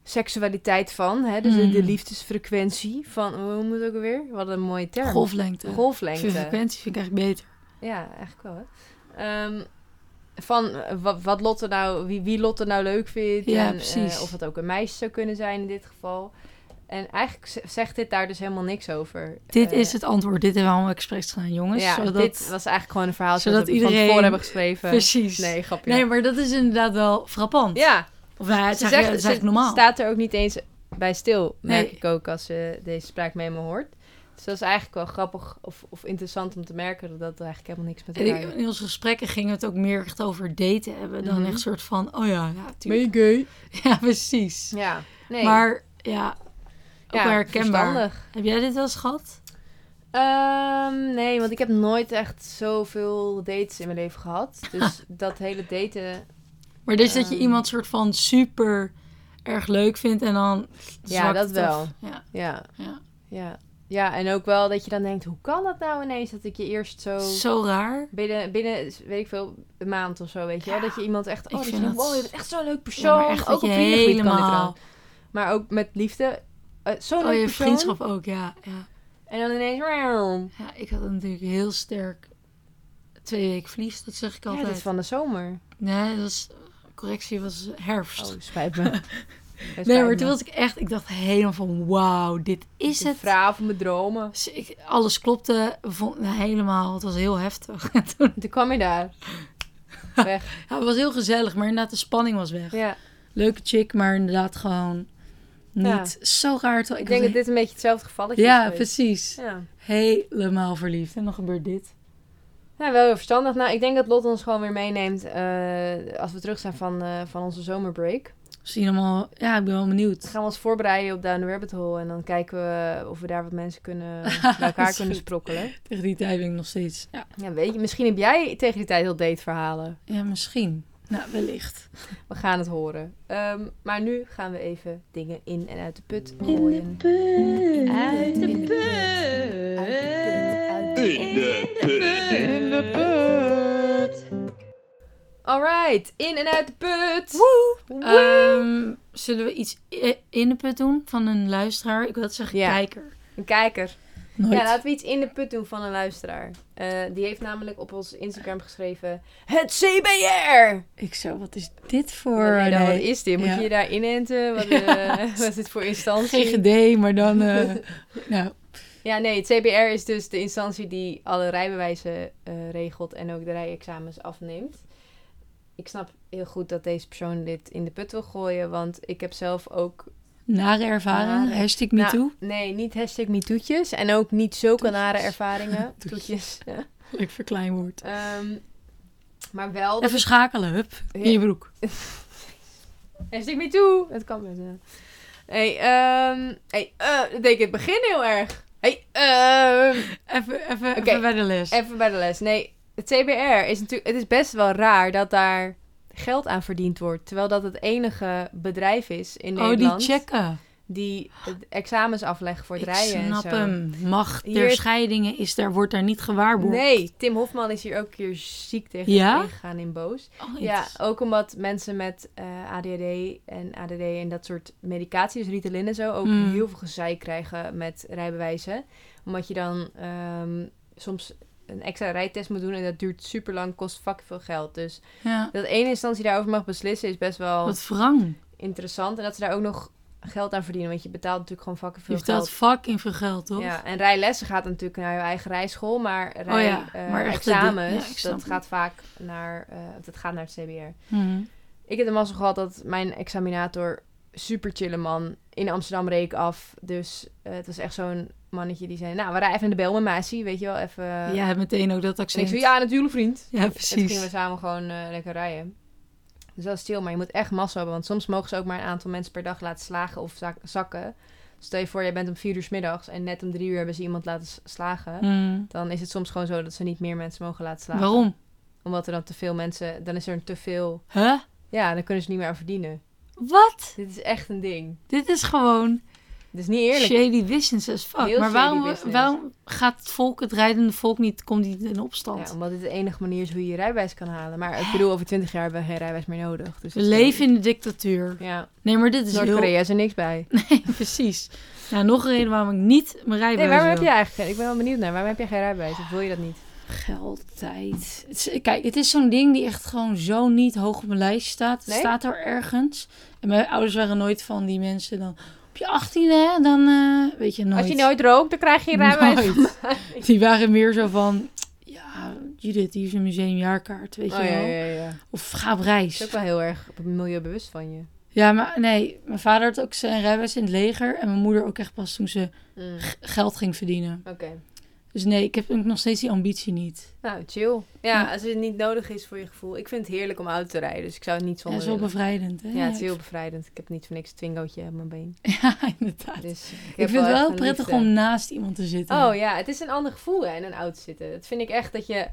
seksualiteit van. Hè? Dus de, de Mm. liefdesfrequentie van, hoe moet het ook weer? Wat een mooie term. Golflengte. Golflengte. Vind frequentie vind ik echt beter. Ja, eigenlijk wel. Hè? Ehm, van eh, wat, wat Lotte nou, wie, wie Lotte nou leuk vindt. Ja, en, eh, precies. of het ook een meisje zou kunnen zijn in dit geval. En eigenlijk z- zegt dit daar dus helemaal niks over. Dit Eh, is het antwoord. Dit hebben we allemaal expres gedaan, jongens. Ja, zodat, dit was eigenlijk gewoon een verhaal zodat dat we van iedereen- tevoren hebben geschreven. Precies. Nee. Nee, grapje. nee, maar dat is inderdaad wel frappant. ja, Of nou, het is eigenlijk, het is ze eigenlijk normaal. staat er ook niet eens bij stil, merk Nee. ik ook als je deze spraak mee me hoort. Dus dat is eigenlijk wel grappig of, of interessant om te merken dat dat eigenlijk helemaal niks met En elkaar ik- in onze gesprekken ging het ook meer echt over daten hebben dan Mhm. echt soort van, oh ja, ja, tuurlijk. je gay? *laughs* Ja, precies. Ja, nee. Maar ja, ook ja, wel herkenbaar. verstandig. Heb jij dit wel eens gehad? Ehm, nee, want ik heb nooit echt zoveel dates in mijn leven *laughs* gehad. Dus dat hele daten... Maar dus dat je Ehm. iemand soort van super erg leuk vindt en dan zwakt dat het wel. af. Ja, Ja, ja. ja. Ja, en ook wel dat je dan denkt, hoe kan dat nou ineens dat ik je eerst zo... Zo raar. Binnen, binnen, weet ik veel, een maand of zo, weet je. wel, Dat je iemand echt, oh, ik dat vind je, dat- wow, je bent echt zo'n leuk Ja, persoon. maar echt ook dat op je vriendengebied kan dit helemaal... trouwens. Maar ook met liefde. eh, zo'n Oh, leuk je persoon. vriendschap ook, ja, ja. En dan ineens, wauw. Ja, ik had natuurlijk heel sterk twee weken verlies, dat zeg ik Ja, altijd. dit is van de zomer. Nee, dat was, correctie was herfst. Oh, spijt *laughs* me. Het spijt nee, me. maar toen was ik echt, ik dacht helemaal van wauw, dit is De het. vrouw van mijn dromen. Dus ik, alles klopte, we vonden het helemaal, het was heel heftig. *laughs* En toen, Toen kwam je daar. Weg. ja, het was heel gezellig, maar inderdaad de spanning was weg. Ja. Leuke chick, maar inderdaad gewoon niet zo raar. terwijl Ik was denk dat dit een beetje hetzelfde gevalletje is Ja, geweest. precies. Ja. Helemaal verliefd. En dan gebeurt dit. Ja, wel heel verstandig. Nou, ik denk dat Lot ons gewoon weer meeneemt eh, als we terug zijn van, eh, van onze zomerbreak. Misschien allemaal, ja, ik ben wel Dan benieuwd. gaan we ons voorbereiden op Down the Rabbit Hole. En dan kijken we of we daar wat mensen *laughs* kunnen, bij Dat elkaar is kunnen goed. sprokkelen. Tegen die tijd ben ik nog steeds, ja, Ja, weet je, misschien heb jij tegen die tijd al dateverhalen. ja misschien. Nou, wellicht. We gaan het horen. Ehm, maar nu gaan we even dingen in en uit de put gooien. Uit de put. Uit de put. In de put. Oké, Alright, in en uit de put. Ehm, zullen we iets i- in de put doen van een luisteraar? Ik wil dat zeggen Ja. kijker. Een kijker. Nooit. Ja, laten we iets in de put doen van een luisteraar. Eh, die heeft namelijk op ons Instagram geschreven... Het CBR! Ik zo, wat is dit Voor, voor... nee, Wat is dit? Moet Ja. je je daar inenten? *laughs* Wat, eh, *laughs* wat is dit voor instantie? GGD, maar dan... eh, *laughs* nou, Ja, nee, het CBR is dus de instantie die alle rijbewijzen eh, regelt en ook de rijexamens afneemt. Ik snap heel goed dat deze persoon dit in de put wil gooien, want ik heb zelf ook... nare ervaring. Nare. Hashtag me Nou, too. nee, niet hashtag MeToo'tjes en ook niet zulke Toetjes. nare *laughs* ervaringen. Toetjes. Toetjes. ja. Leuk verkleinwoord. Ehm, maar wel... Even schakelen, hup. In je broek. Hashtag MeToo! Het kan best, ja. Hey, ehm... Hey, eh, dat deed ik in het begin heel erg. Hey, *laughs* ehm... Even, even, Oké. even bij de les. Even bij de les. Nee, het CBR is natuurlijk. Het is best wel raar dat daar geld aan verdiend wordt. Terwijl dat het enige bedrijf is in oh, die Nederland. checken. Die het examens afleggen voor het Ik rijden. snap en zo. hem. Macht der Hier- scheidingen is daar, wordt daar niet gewaarborgd. Nee, Tim Hofman is hier ook een keer ziek tegen Ja? gegaan in Boos. Oh, Ja, het is- ook omdat mensen met eh, ADHD en ADD en dat soort medicatie, dus Ritalin en zo, ook Mm. heel veel gezeik krijgen met rijbewijzen. Omdat je dan ehm, soms een extra rijtest moet doen en dat duurt super lang, kost fucking veel geld. Dus ja. Dat één instantie daarover mag beslissen is best wel Wat wrang. interessant. En dat ze daar ook nog geld aan verdienen. Want je betaalt natuurlijk gewoon fucking Je veel betaalt geld. fucking veel geld, toch? Oh Ja, en rijlessen gaat natuurlijk naar je eigen rijschool. Maar rij, ja, eh, maar echt de- ja, ik examens, snap dat het. gaat vaak naar, eh, dat gaat naar het CBR. Mhm. Ik heb de mazzel gehad dat mijn examinator, super chille man, in Amsterdam reek af. Dus eh, het was echt zo'n mannetje die zei, nou, we rijden even in de bel met Masi, weet je wel, even... Jij hebt meteen ook dat en ik accent. zo, ja, natuurlijk vriend. Ja, En toen gingen we precies. samen gewoon eh, lekker rijden. Dus dat is chill, maar je moet echt massa hebben. Want soms mogen ze ook maar een aantal mensen per dag laten slagen of zak- zakken. Dus Stel je voor, jij bent om vier uur 's middags en net om drie uur hebben ze iemand laten s- slagen. Mhm. Dan is het soms gewoon zo dat ze niet meer mensen mogen laten slagen. Waarom? Omdat er dan te veel mensen, dan is er te veel. Huh? Ja, dan kunnen ze niet meer aan verdienen. Wat? Dit is echt een ding. Dit is gewoon Dit is niet eerlijk. shady business as fuck. Heel maar waarom, shady business. waarom gaat het volk, het rijdende volk, niet, komt niet in opstand? Ja, omdat dit de enige manier is hoe je je rijbewijs kan halen. Maar ik bedoel, over twintig jaar hebben we geen rijbewijs meer nodig. Dus we leven in de dictatuur. Ja, Nee, maar dit is heel... Noord-Korea is er niks bij. Nee, *laughs* precies. Nou, nog een reden waarom ik niet mijn rijbewijs Nee, waarom heb wil. je eigenlijk... Ik ben wel benieuwd naar. Waarom heb je geen rijbewijs? Of wil je dat niet? Geld, tijd. Het is- kijk, het is zo'n ding die echt gewoon zo niet hoog op mijn lijstje staat. Het Nee? staat er ergens. En mijn ouders waren nooit van die mensen dan... Op je 18 hè, dan eh, weet je nooit. Als je nooit rookt, dan krijg je geen rijbewijs. *laughs* Nooit. Die waren meer zo van... Ja, Judith, hier is een museumjaarkaart, weet je wel. Oh, ja. Of ga op is ook reis. wel heel erg milieubewust van je. Ja, maar nee. Mijn vader had ook zijn rijbewijs in het leger. En mijn moeder ook echt pas toen ze Oké. g- geld ging verdienen. Dus nee, ik heb ook nog steeds die ambitie niet. Nou, chill. Ja, als het niet nodig is voor je gevoel. Ik vind het heerlijk om auto te rijden, dus ik zou het niet Ja, dat zonder is wel willen. bevrijdend, hè? Ja, het is heel bevrijdend. Ik heb niet voor niks een twingootje op mijn been. *laughs* Ja, inderdaad. Dus ik, Ik heb vind het echt wel een prettig liefde. om naast iemand te zitten. Oh ja, het is een ander gevoel hè, in een auto zitten. Dat vind ik echt dat je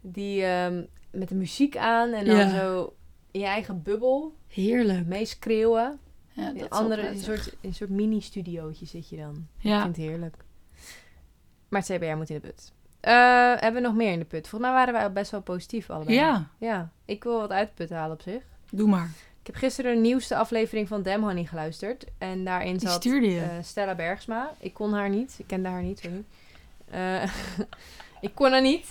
die ehm, met de muziek aan en dan Ja. zo in je eigen bubbel Heerlijk. meeschreeuwen. Ja, dat In is wel andere, in een prettig. soort, in een soort mini-studiootje zit je dan. Ik Ja, vind het heerlijk. Maar het CBR moet in de put. Eh, hebben we nog meer in de put? Volgens mij waren wij al best wel positief allebei. ja, Ja, ik wil wat uit de put halen op zich. doe maar. Ik heb gisteren de nieuwste aflevering van Dam Honey geluisterd. En daarin Die zat stuurde je. eh, Stella Bergsma. Ik kon haar niet. Ik kende haar niet, sorry. Eh, *laughs* ik kon haar niet.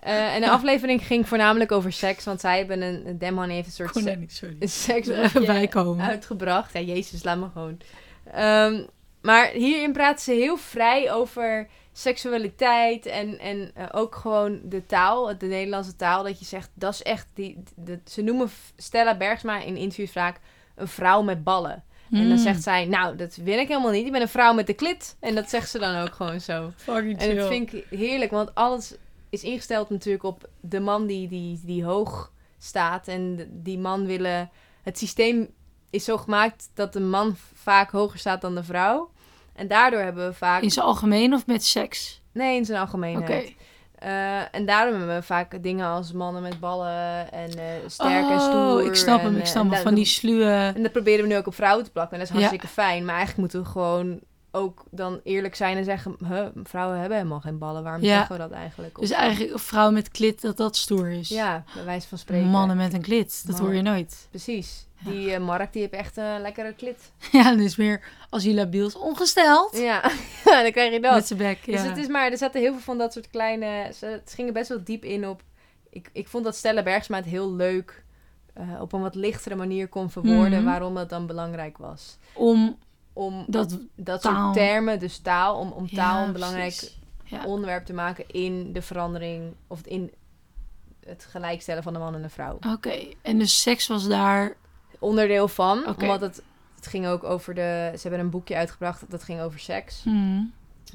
Eh, *laughs* en de aflevering ging voornamelijk over seks. Want zij hebben een... Dam Honey heeft een soort... Kon se- daar niet, Oh, sorry. een seks er even *laughs* bij komen. uitgebracht. Ja, Jezus, laat me gewoon. Ehm, maar hierin praten ze heel vrij over seksualiteit en, en eh, ook gewoon de taal, de Nederlandse taal. Dat je zegt, dat is echt, die, dat- ze noemen Stella Bergsma in interviews vaak een vrouw met ballen. En dan Mm, zegt zij, nou, dat wil ik helemaal niet. Ik ben een vrouw met de klit. En dat zegt ze dan ook gewoon zo. Fucking En dat chill. vind ik heerlijk, want alles is ingesteld natuurlijk op de man die, die, die hoog staat. En de- die man willen... Het systeem is zo gemaakt dat de man vaak hoger staat dan de vrouw. En daardoor hebben we vaak... In zijn algemeen of met seks? Nee, in zijn Oké. algemeenheid. Eh, en daarom hebben we vaak dingen als mannen met ballen en eh, sterk en Oh, stoer. ik snap hem, en, ik eh, snap en hem. dat- Van die sluwe... En dat proberen we nu ook op vrouwen te plakken. En dat is Ja. hartstikke fijn. Maar eigenlijk moeten we gewoon ook dan eerlijk zijn en zeggen... Huh, vrouwen hebben helemaal geen ballen. Waarom Ja. zeggen we dat eigenlijk? Of- Dus eigenlijk een vrouw met klit, dat dat stoer is. Ja, bij wijze van spreken. Mannen met een klit, dat Mannen. hoor je nooit. *laughs* Precies. Ja. Die eh, Mark, die heeft echt een lekkere klit. Ja, dus meer als je labiel is ongesteld. Ja, *laughs* dan krijg je dat. Met zijn bek, ja. Dus het is maar, er zaten heel veel van dat soort kleine... Ze het gingen best wel diep in op... Ik, ik vond dat Stella Bergsma het heel leuk... eh, op een wat lichtere manier kon verwoorden Mhm. waarom dat dan belangrijk was. Om Om dat dat taal. soort termen, dus taal, om, om taal Ja, een belangrijk precies. Ja. onderwerp te maken in de verandering... of in het gelijkstellen van de man en de vrouw. Oké, en dus seks was daar... Onderdeel van, Oké. omdat het, het ging ook over de... Ze hebben een boekje uitgebracht, dat ging over seks. Hmm.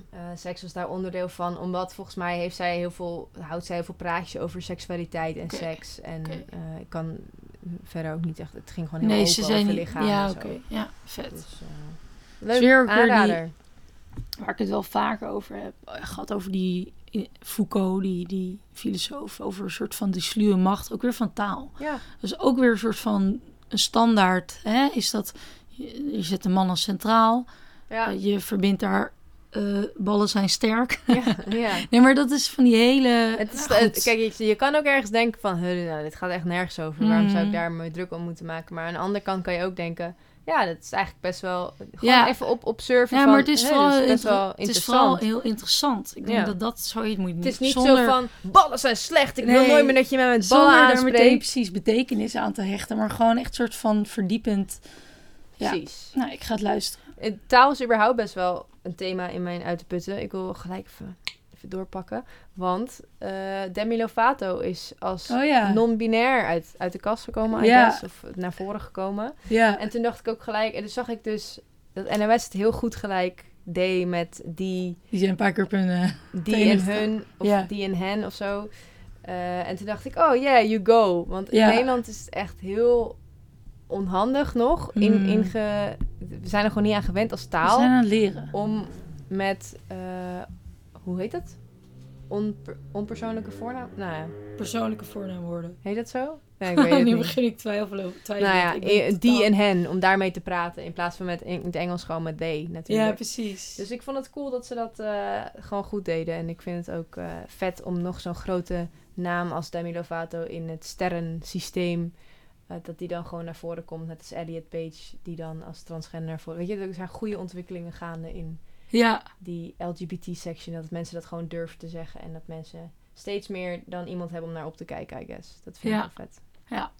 Eh, seks was daar onderdeel van, omdat volgens mij heeft zij heel veel, houdt zij heel veel praatjes over seksualiteit en Oké. seks. En Oké. eh, ik kan verder ook niet echt. Het ging gewoon heel Nee, open ze zijn over niet... lichaam. Ja, en oké. zo. Ja, vet. Dus, eh, leuk weer ook weer die- aanrader. Waar ik het wel vaker over heb eh, gehad, over die eh, Foucault, die, die filosoof, over een soort van die sluwe macht, ook weer van taal. Ja, Dus ook weer een soort van een standaard. Hè? Is dat je, je zet de man als centraal, ja, eh, je verbindt daar eh, ballen zijn *laughs* sterk. *laughs* ja, ja. Nee, maar dat is van die hele. Het is, Nou, het- goed. kijk, je, je kan ook ergens denken van, "Huh, nou, dit gaat echt nergens over. Waarom zou ik Mm. daar me druk om moeten maken? Maar aan de andere kant kan je ook denken, ja, dat is eigenlijk best wel... Gewoon Ja. even op, op surfen ja, van, maar het is, "Huh, dit vooral, best inter- wel het is interessant. vooral heel interessant. Ik denk Ja. dat dat zoiets moet. Het is niet zonder, zo van ballen zijn slecht. Ik wil Nee. nooit meer dat je mij met ballen zonder daar meteen aanspreekt. precies betekenis aan te hechten, maar gewoon echt een soort van verdiepend. ja. Precies. Nou, ik ga het luisteren. Eh, Taal is überhaupt best wel een thema in mijn uit de putten. Ik wil gelijk even, even doorpakken. Want eh, Demi Lovato is als Oh ja. non-binair uit, uit de kast gekomen. I Ja. guess, of naar voren gekomen. ja. En toen dacht ik ook gelijk... En toen zag ik dus dat NOS het heel goed gelijk deed met die, Die zijn een paar keer op hun. eh, die en Tegenstand. hun. Of Ja. die en hen of zo. Eh, en toen dacht ik, oh yeah, you go. Want in Ja. Nederland is het echt heel onhandig nog. In, Mm. inge- we zijn er gewoon niet aan gewend als we taal. zijn aan het leren. Om met, eh, hoe heet dat? Onper- onpersoonlijke voornaam? Nou ja, Persoonlijke voornaamwoorden. heet dat zo? Nee, *laughs* ik weet het nu niet. begin ik twijfelen. twijfelen. Nou ja, Oh, Ik ben eh, totaal- die en hen, om daarmee te praten. In plaats van met, in het Engels gewoon met they Ja, natuurlijk. precies. dus ik vond het cool dat ze dat eh, gewoon goed deden. En ik vind het ook eh, vet om nog zo'n grote naam als Demi Lovato in het sterrensysteem... eh, dat die dan gewoon naar voren komt. Net als Elliot Page, die dan als transgender naar voren... Weet je, er zijn goede ontwikkelingen gaande in ja, die LGBT-section, dat mensen dat gewoon durven te zeggen en dat mensen steeds meer dan iemand hebben om naar op te kijken, I guess. Dat vind Ja. ik wel vet. Ja.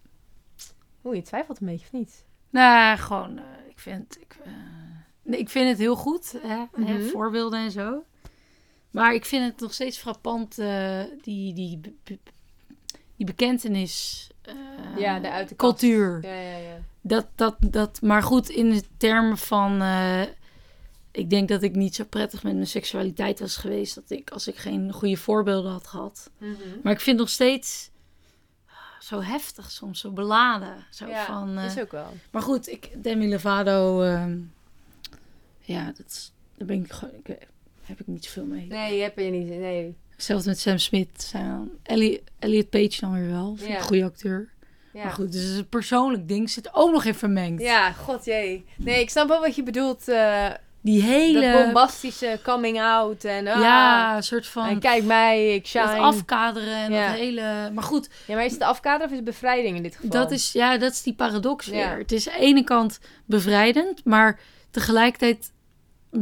Oeh, je twijfelt een beetje of niet? nou gewoon, eh, ik, vind, ik, eh, nee, ik vind het heel goed. Hè, hè, Mhm. voorbeelden en zo. Maar ik vind het nog steeds frappant, eh, die, die, be- be- die bekentenis. eh, ja, de uit de kast. cultuur. Ja, ja, ja. Dat, dat, dat, maar goed, in de termen van. eh, ik denk dat ik niet zo prettig met mijn seksualiteit was geweest. Dat ik, als ik geen goede voorbeelden had gehad. Maar ik vind het nog steeds zo heftig soms, zo beladen. Zo Ja, van, eh, Is ook wel. Maar goed, ik, Demi Lovato, ehm, ja, dat, is- daar ben ik gewoon, ik, eh, heb ik niet zoveel mee. Nee, je hebt je niet. Nee. Zelfs met Sam Smith, zijn dan- Elliot, Elliot Page dan weer wel, vind ik Ja. een goede acteur. Ja. Maar goed, dus het is een persoonlijk ding, zit ook nog in vermengd. Ja, god jee. Nee, ik snap wel wat je bedoelt. eh, Die hele, Dat bombastische coming out en, ah, ja, een soort van, en kijk mij, ik shine. dat afkaderen en Ja. dat hele, maar goed, Ja, maar is het afkaderen of is het bevrijding in dit geval? Dat is, ja, dat is die paradox weer. Ja. Het is aan de ene kant bevrijdend, maar tegelijkertijd...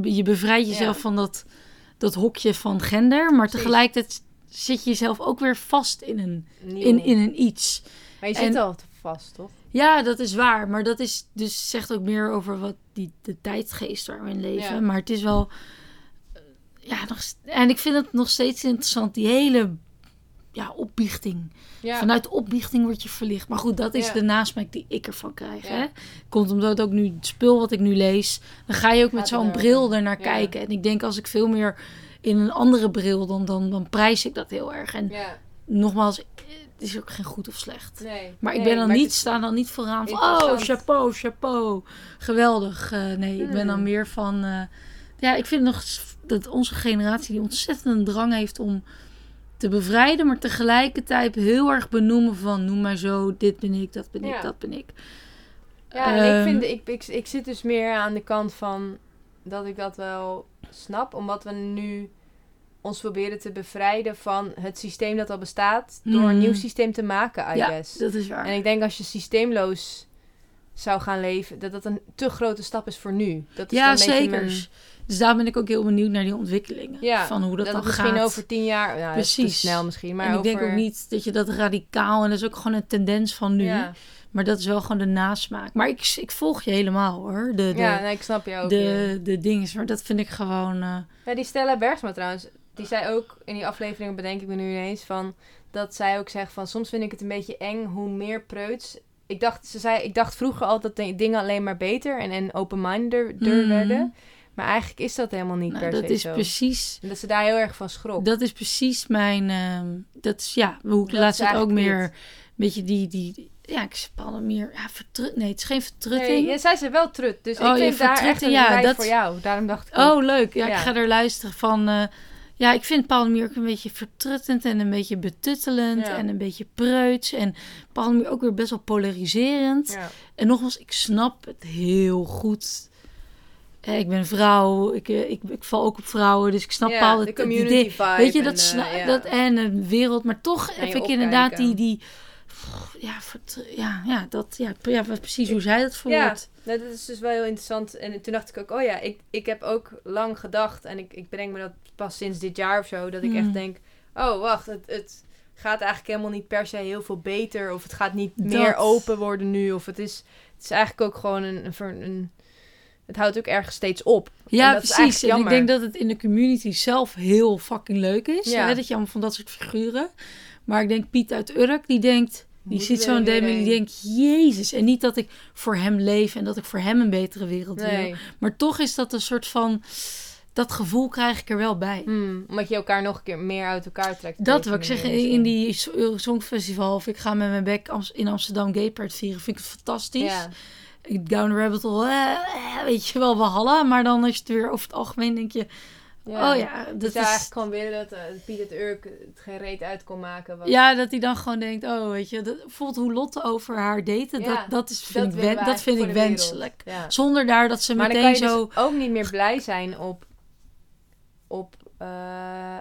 Je bevrijdt jezelf Ja. van dat, dat hokje van gender. Maar Precies. tegelijkertijd zit je jezelf ook weer vast in een, Nieuw. in, in een iets. Maar je en- zit al vast, toch? Ja, dat is waar. Maar dat is dus zegt ook meer over wat die, de tijdgeest waar we in leven. Ja. Maar het is wel... eh, Ja, nog, s- en ik vind het nog steeds interessant. Die hele ja, opbiechting. Ja. Vanuit opbiechting word je verlicht. Maar goed, dat is Ja. de nasmaak die ik ervan krijg. Ja. Hè? Komt omdat het ook nu het spul wat ik nu lees, dan ga je ook met Gaat het zo'n erover. bril ernaar Ja. kijken. En ik denk als ik veel meer in een andere bril, dan, dan, dan prijs ik dat heel erg. En ja. nogmaals, eh, het is ook geen goed of slecht. Nee. Maar ik Nee, ben dan maar niet, het is- staan dan niet vooraan van, oh, Interessant. chapeau, chapeau. Geweldig. Eh, nee, ik ben dan Hmm. meer van, eh, ja, ik vind nog s- dat onze generatie die ontzettend een drang heeft om te bevrijden, maar tegelijkertijd heel erg benoemen van, noem maar zo, dit ben ik, dat ben ik, Ja. dat ben ik. Ja, en ik, Ehm, vind, ik, ik, ik zit dus meer aan de kant van... dat ik dat wel snap. Omdat we nu ons proberen te bevrijden van het systeem dat al bestaat. Door een Mm. nieuw systeem te maken, I Ja, guess. dat is waar. En ik denk als je systeemloos zou gaan leven, dat dat een te grote stap is voor nu. Dat is dan ja, een beetje zeker. mijn- Dus daar ben ik ook heel benieuwd naar die ontwikkelingen. Ja, van hoe dat dat, dan het misschien gaat. over tien jaar... Nou, Precies. Precies. snel misschien, maar en ik over... denk ook niet dat je dat radicaal... En dat is ook gewoon een tendens van nu. Ja, Maar dat is wel gewoon de nasmaak. Maar ik, ik volg je helemaal hoor. De, de, ja nou, nee, ik snap je ook. ja. de, de dinges. Maar dat vind ik gewoon... eh, Ja, die Stella Bergsma trouwens, die zei ook in die aflevering, bedenk ik me nu ineens, van dat zij ook zegt van soms vind ik het een beetje eng hoe meer preuts. Ik dacht, ze zei, ik dacht vroeger altijd dat de dingen alleen maar beter en, en open-mindeder Mm. werden. Maar eigenlijk is dat helemaal niet nou, per dat se is zo. precies... En dat ze daar heel erg van schrok. Dat is precies mijn... ehm, dat is ja, hoe ik Dat laatst is het ook eigenlijk meer... Een beetje die... die ja, ik spal meer... Ja, vertrut, nee, het is geen vertrutting. Nee, ja, zij zei wel trut, dus Oh, ik je vind daar echt vertrutte, een ja, rij dat- voor jou. Daarom dacht ik, ook, Oh, leuk. Ja, Ja. ik ga er luisteren van... eh, ja, ik vind Palmier ook een beetje vertruttend en een beetje betuttelend Ja. en een beetje preuts. En Palmier ook weer best wel polariserend. ja. En nogmaals, ik snap het heel goed. Eh, Ik ben vrouw, ik, eh, ik, ik val ook op vrouwen, dus ik snap Ja, al de het het community idee. vibe Weet je, en, dat, eh, sna- ja. dat en een wereld, maar toch En heb ik je inderdaad die, opkijken. die pff, ja, vert- ja, ja, dat, ja, pre- ja, precies hoe zij dat Ja, voelt. Nou, dat is dus wel heel interessant. En toen dacht ik ook, oh ja, ik, ik heb ook lang gedacht. En ik, ik bedenk me dat pas sinds dit jaar of zo. Dat ik Hmm. echt denk, oh wacht, het, het gaat eigenlijk helemaal niet per se heel veel beter. Of het gaat niet Dat. meer open worden nu. Of het is, het is eigenlijk ook gewoon een, een, ver- een- Het houdt ook ergens steeds op. Ja, dat is precies. eigenlijk En ik jammer. denk dat het in de community zelf heel fucking leuk is. Ja. Hè? Dat je allemaal van dat soort figuren. Maar ik denk Piet uit Urk, die denkt... Die Moeten ziet we zo'n er weer demo en die heen? denkt... Jezus. En niet dat ik voor hem leef en dat ik voor hem een betere wereld wil. Nee. Maar toch is dat een soort van... Dat gevoel krijg ik er wel bij. Hmm, omdat je elkaar nog een keer meer uit elkaar trekt. Dat Deze wil ik zeggen manier in misschien. die eh, Songfestival. Of ik ga met mijn bek Ams- in Amsterdam Gay Pride vieren. Vind ik het fantastisch. Ja. Ik Down the rabbit hole. eh, eh, weet je wel, Walhalla. Maar dan is het weer over het algemeen denk je... Oh ja, dat Dat is... zou eigenlijk gewoon willen dat eh, Piet het Urk het geen reet uit kon maken. want Ja, dat hij dan gewoon denkt, oh, weet je, dat, voelt hoe Lotte over haar daten, Ja, dat, dat, is, dat vind ik, willen we wen- dat vind eigenlijk ik voor de wereld. wenselijk. Ja. Zonder daar dat ze Maar dan kan meteen je zo... dus ook niet meer blij zijn op... op eh,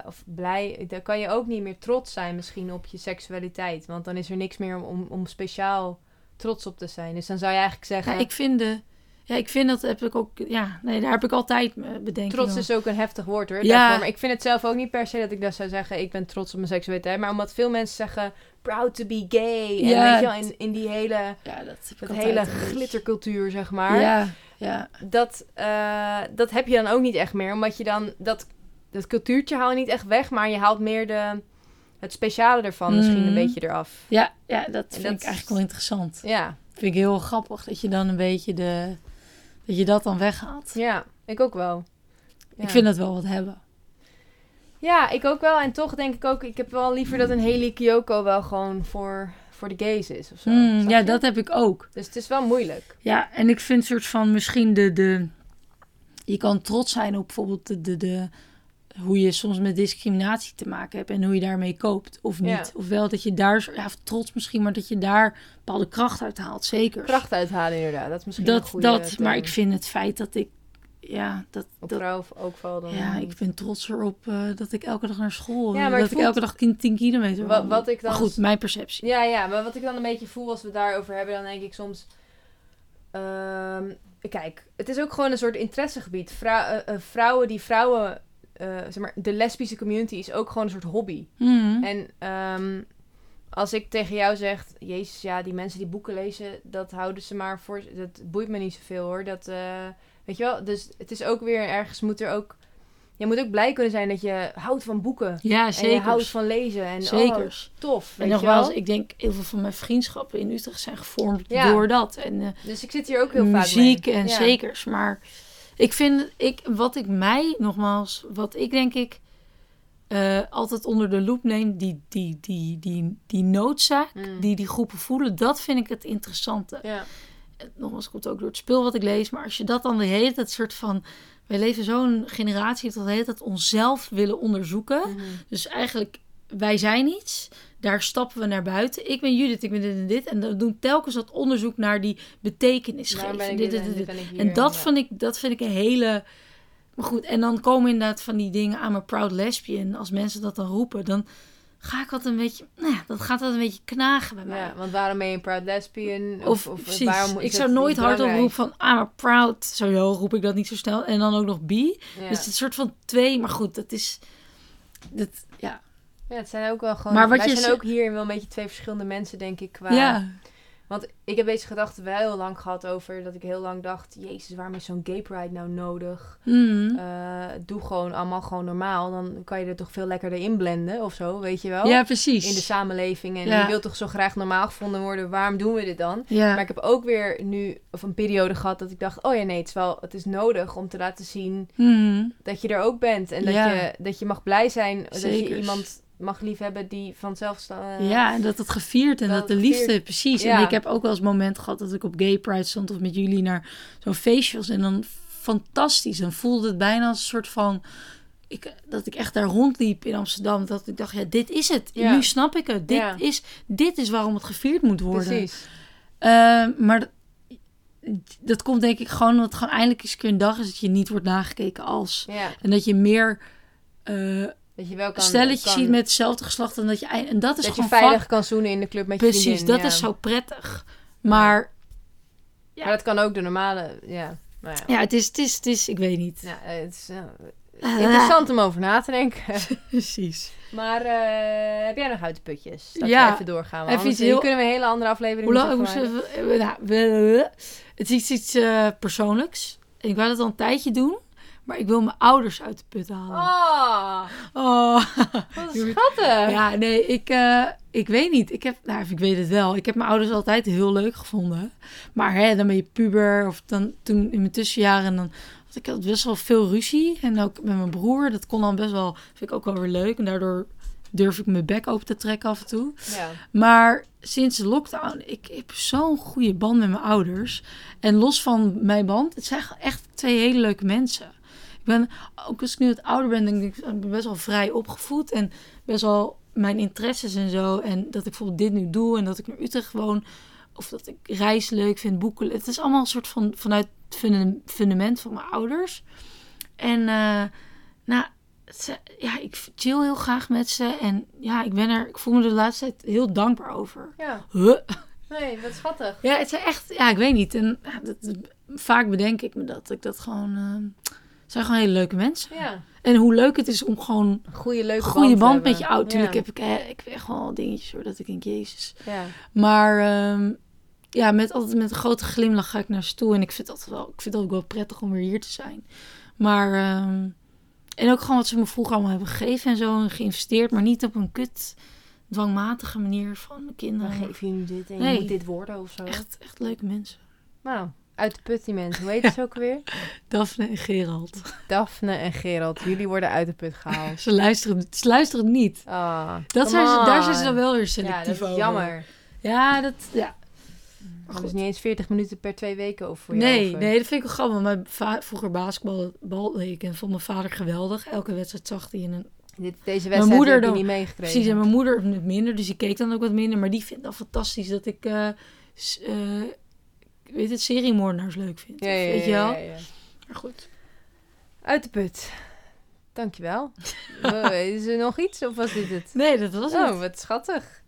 of blij... Dan kan je ook niet meer trots zijn misschien op je seksualiteit. Want dan is er niks meer om, om, om speciaal trots op te zijn. Dus dan zou je eigenlijk zeggen... Ja, ik vind de... Ja, ik vind dat heb ik ook... Ja, nee, daar heb ik altijd me bedenking Trots op. is ook een heftig woord hoor. Ja. daarvoor. Maar ik vind het zelf ook niet per se dat ik dat zou zeggen. Ik ben trots op mijn seksualiteit. Maar omdat veel mensen zeggen. Proud to be gay. En Ja. weet je wel, in, in die hele, Ja, dat heb ik dat altijd hele een beetje. glittercultuur zeg maar. Ja, ja. dat, eh, dat heb je dan ook niet echt meer. Omdat je dan dat, dat cultuurtje haal je niet echt weg, maar je haalt meer de, het speciale ervan misschien een Mhm. beetje eraf. Ja, ja, dat vind dat ik is- eigenlijk wel interessant. Ja, Vind ik heel grappig dat je dan een beetje de... Dat je dat dan weghaalt. ja ik ook wel. Ja. Ik vind dat wel wat hebben. ja, ik ook wel. En toch denk ik ook, ik heb wel liever dat een hele Kyoko wel gewoon voor, voor de gays is of zo. Hmm, Snap ja, je? dat heb ik ook. Dus het is wel moeilijk. Ja, en ik vind soort van misschien de, de... Je kan trots zijn op bijvoorbeeld de, de, de... Hoe je soms met discriminatie te maken hebt en hoe je daarmee koopt of niet. Ja. Ofwel dat je daar, ja, of trots misschien, maar dat je daar bepaalde kracht uit haalt, zeker. Kracht uithalen inderdaad, dat is misschien een dat, goede dat, term. maar ik vind het feit dat ik, ja, dat, Op dat vrouw ook wel dan... ja, ik ben trots erop eh, dat ik elke dag naar school, Ja, eh, maar dat het ik voelt- elke dag 10 10 kilometer Wat- wandel. wat ik dan- Maar goed, mijn perceptie. Ja, ja, maar wat ik dan een beetje voel als we het daarover hebben, dan denk ik soms. ehm, kijk, het is ook gewoon een soort interessegebied. Vrou- eh, eh, vrouwen die vrouwen. eh, zeg maar, de lesbische community is ook gewoon een soort hobby. Mhm. En ehm, als ik tegen jou zeg, Jezus, ja, die mensen die boeken lezen, dat houden ze maar voor. Dat boeit me niet zoveel hoor. Dat, eh, weet je wel, dus het is ook weer ergens moet er ook. Je moet ook blij kunnen zijn dat je houdt van boeken. ja, En je zeker. houdt van lezen. En, zeker. Oh, tof. En weet je nogmaals, wel? ik denk heel veel van mijn vriendschappen in Utrecht zijn gevormd Ja. door dat. En eh, Dus ik zit hier ook heel vaak mee. muziek en Ja. zekers. Maar ik vind, ik, wat ik mij nogmaals, wat ik denk ik eh, altijd onder de loep neem, die, die, die, die, die noodzaak Mm. die die groepen voelen, dat vind ik het interessante. Ja. En Nogmaals, komt ook door het spul wat ik lees. Maar als je dat dan de hele tijd soort van... Wij leven zo'n generatie dat we de hele tijd onszelf willen onderzoeken. Dus eigenlijk, wij zijn iets. Daar stappen we naar buiten. Ik ben Judith, ik ben dit en dit. En dan doen telkens dat onderzoek naar die betekenis Daarom geven. ben ik Dit, dit dit, dit, en dit. ben ik hier. En dat, ja. vind ik, dat vind ik een hele Maar goed, en dan komen inderdaad van die dingen aan mijn proud lesbian. Als mensen dat dan roepen, dan ga ik dat een beetje, nou ja, dat gaat dat een beetje knagen bij mij. Ja, want waarom ben je een proud lesbian? Of, precies. ik zou nooit hardop roepen van I'm a proud. Sowieso roep ik dat niet zo snel. En dan ook nog bi. Ja. Dus het is een soort van twee. Maar goed, dat is... Dat, ja. Ja, het zijn ook wel gewoon... Maar wat wij je zijn ze- ook hierin wel een beetje twee verschillende mensen, denk ik. Qua... ja. Want ik heb deze gedachte wel heel lang gehad over... dat ik heel lang dacht... Jezus, waarom is zo'n gay pride nou nodig? Mhm. Eh, doe gewoon allemaal gewoon normaal. Dan kan je er toch veel lekkerder in blenden of zo, weet je wel? ja, precies. In de samenleving. En Ja. je wilt toch zo graag normaal gevonden worden. Waarom doen we dit dan? ja. Maar ik heb ook weer nu of een periode gehad dat ik dacht: oh ja, nee, het is wel het is nodig om te laten zien Mhm. dat je er ook bent. En dat, Ja. je, dat je mag blij zijn. Dat je Zekers. iemand mag liefhebben die vanzelf staat. Ja, en dat het gevierd en dat dat, de eh, gevierd- liefde, precies. Ja. En ik heb ook wel eens momenten gehad dat ik op Gay Pride stond of met jullie naar zo'n feestje was. En dan fantastisch. Dan voelde het bijna als een soort van. Ik, dat ik echt daar rondliep in Amsterdam. Dat ik dacht, ja, dit is het. Ja. Nu snap ik het. Dit, Ja. is, dit is waarom het gevierd moet worden. Precies. Eh, maar dat, dat komt denk ik gewoon omdat het gewoon eindelijk eens een keer een dag is dat je niet wordt nagekeken als. Ja, En dat je meer eh dat je wel kan. stelletjes kan- ziet met hetzelfde geslacht. En dat, je, eind- en dat is dat je gewoon veilig fuck- kan zoenen in de club met je Precies, vriendin. dat ja. is zo prettig. Maar Maar dat kan ook de normale. Ja, maar ja. ja, het is, het is, het is ik weet niet. Ja, eh, het is eh, Ah. interessant om over na te denken. *laughs* *laughs* Precies. Maar eh, heb jij nog uit de putjes? Dat Ja. we even doorgaan. want Even anders iets heel- kunnen we een hele andere aflevering Hoe lang? moeten Hoe verwijden. ze- eh, nou, eh, het is iets, iets eh, persoonlijks. En ik wou dat al een tijdje doen, maar ik wil mijn ouders uit de put halen. Oh, Oh. wat Doe- schattig. Ja, nee, ik, eh, ik weet niet. Ik heb, nou, ik weet het wel. Ik heb mijn ouders altijd heel leuk gevonden. Maar hè, dan ben je puber of dan toen in mijn tussenjaren en dan had ik altijd best wel veel ruzie en ook met mijn broer. Dat kon dan best wel, vind ik ook wel weer leuk en daardoor durf ik mijn bek open te trekken af en toe. Ja. Maar sinds de lockdown, ik heb zo'n goede band met mijn ouders. En los van mijn band, het zijn echt twee hele leuke mensen. Ik ben, ook als ik nu wat ouder ben, denk ik, ik ben best wel vrij opgevoed. En best wel mijn interesses en zo. En dat ik bijvoorbeeld dit nu doe en dat ik naar Utrecht woon. Of dat ik reis leuk vind, boeken. Het is allemaal een soort van vanuit het funda- fundament van mijn ouders. En eh, nou, ze- ja, ik chill heel graag met ze. En ja, ik ben er, ik voel me de laatste tijd heel dankbaar over. Ja, Huh? nee, wat schattig. Ja, het zijn echt, ja, ik weet niet. En ja, dat, vaak bedenk ik me dat ik dat gewoon, eh, het zijn gewoon hele leuke mensen. Ja, En hoe leuk het is om gewoon een goede, leuke een goede te band met hebben. je oud. Tuurlijk Ja. heb ik, eh, ik heb echt wel dingetjes hoor, dat ik denk, jezus. Ja. Maar ehm, ja, met altijd met een grote glimlach ga ik naar ze toe. En ik vind dat wel, ik vind dat ook wel prettig om weer hier te zijn. Maar ehm, en ook gewoon wat ze me vroeger allemaal hebben gegeven en zo en geïnvesteerd, maar niet op een kut dwangmatige manier van mijn Dan kinderen. geef je nu dit en je Nee. moet dit worden of zo. Echt, echt leuke mensen. Nou, uit de put die mensen. Hoe heet het ook weer? Daphne en Gerald. Daphne en Gerald. Jullie worden uit de put gehaald. Ze luisteren, ze luisteren niet. Ah, Dat come zijn ze, daar zijn ze on. dan wel weer Ja, selectief dat is over. jammer. Ja, dat... Ja. Maar Dat goed. is niet eens 40 minuten per twee weken over voor jou. nee, over. nee, dat vind ik wel grappig. want Mijn va- vroeger basketbal balde ik en vond mijn vader geweldig. Elke wedstrijd zag hij in een... Dit, deze wedstrijd moeder heb je dan- niet meegekregen. Precies, en mijn moeder het minder, dus die keek dan ook wat minder. Maar die vindt dan fantastisch dat ik... eh s- eh, ik weet het, seriemoordenaars leuk vind. Ja, ja, weet je ja, wel? ja, ja. Maar goed. Uit de put. *laughs* Dankjewel. Oh, is er nog iets of was dit het? Nee, dat was het. Oh, wat schattig.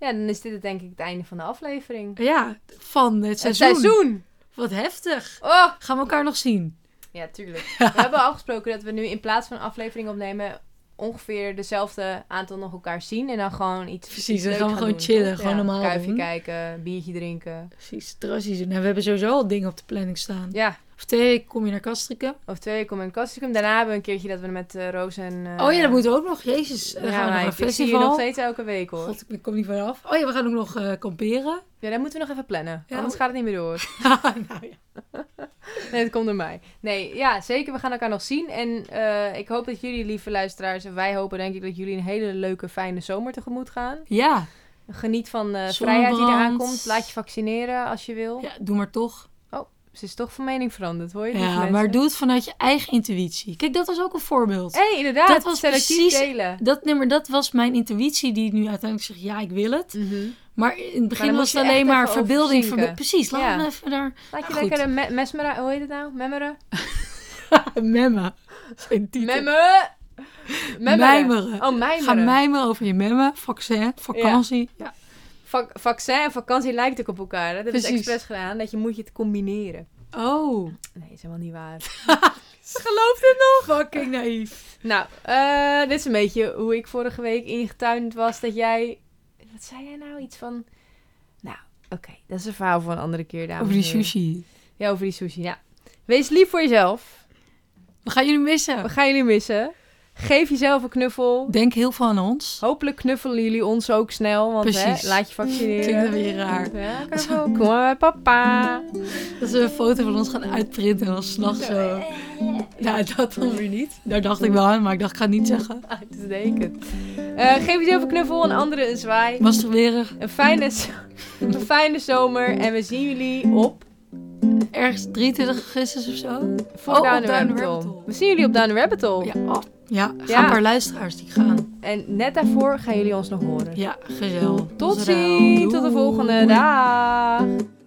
Ja, dan is dit het, denk ik het einde van de aflevering. Ja, van het Het seizoen. seizoen! Wat heftig. Oh! Gaan we elkaar nog zien? Ja, *laughs* tuurlijk. We hebben al gesproken dat we nu in plaats van een aflevering opnemen... ongeveer dezelfde aantal nog elkaar zien. En dan gewoon iets Precies, iets dan leuks gaan we gewoon doen, chillen, toch? gewoon Ja, normaal Kuifje doen. kijken, biertje drinken. Precies, terrasjes doen. Nou, we hebben sowieso al dingen op de planning staan. Ja, Of twee weken kom je naar Kastrikum. of twee weken om een kastricum. Daarna hebben we een keertje dat we met eh, Roos en... eh, oh ja, dat moeten we ook nog. Jezus, Ja, dan gaan we maar naar een ik, ik zie je nog festival. steeds elke week, hoor. God, ik kom niet vanaf. Oh ja, we gaan ook nog eh, *laughs* kamperen. *laughs* Ja, dat moeten we nog even plannen. Ja, anders we- gaat het niet meer door. nou ja. *laughs* Nee, het komt door mij. Nee, ja, zeker. We gaan elkaar nog zien. En eh, ik hoop dat jullie, lieve luisteraars... en wij hopen denk ik dat jullie een hele leuke, fijne zomer tegemoet gaan. Ja. Geniet van de Zonnebrand. vrijheid die eraan komt. Laat je vaccineren als je wil. ja, doe maar toch. Ze is toch van mening veranderd, hoor je? lieve Ja, mensen? maar doe het vanuit je eigen intuïtie. Kijk, dat was ook een voorbeeld. hey, inderdaad. Dat was selectief precies- delen. Dat, nee, maar dat was mijn intuïtie die nu uiteindelijk zegt, ja, ik wil het. Maar in het begin moet was je het alleen echt maar even over verbeelding. zinken. verbe- Precies, laat Ja. me even daar *laughs* Laat je eh, Goed. lekker een me- mesmera... Hoe heet het nou? Memmeren? memmen. Geen titel. Memmen! Memmen. Mijmeren. Oh, mijmeren. Ga mijmeren over je memmen, vaccin, vakantie. Ja. Vac- vaccin en vakantie lijkt ook op elkaar. Hè? Dat is Precies. expres gedaan, dat je moet je het combineren. Oh, Nee, is helemaal niet *laughs* waar. geloof dit nog? Fucking naïef. nou, eh, dit is een beetje hoe ik vorige week ingetuind was dat jij... Wat zei jij nou? Iets van... Nou, oké. Dat is een verhaal voor een andere keer, dames Over die en heren. sushi. Ja, over die sushi, ja. Wees lief voor jezelf. We gaan jullie missen. We gaan jullie missen. Geef jezelf een knuffel. Denk heel veel aan ons. Hopelijk knuffelen jullie ons ook snel, want Precies. hè, laat je Klinkt dat vaccineren. weer raar. Ja, knuffel. Kom maar bij papa. Dat ze een foto van ons gaan uitprinten en dan *laughs* s'nachts zo. Nou, dat dan weer niet. Daar dacht ik wel aan, maar ik dacht, ik ga het niet zeggen. Ah, dat is dekend. Eh, geef jezelf een knuffel, een andere een zwaai. Masturberen. Een fijne, z- een fijne zomer en we zien jullie op Ergens 23 augustus of zo. Fuck Oh, Down op the Down the Rabbit Rabbit Hole. Hole. We zien jullie op Down the Rabbit Hole. Ja, oh. ja ga Ja. een paar luisteraars die gaan. En net daarvoor gaan jullie ons nog horen. Ja, gezellig. Tot ziens, tot de volgende. Dag.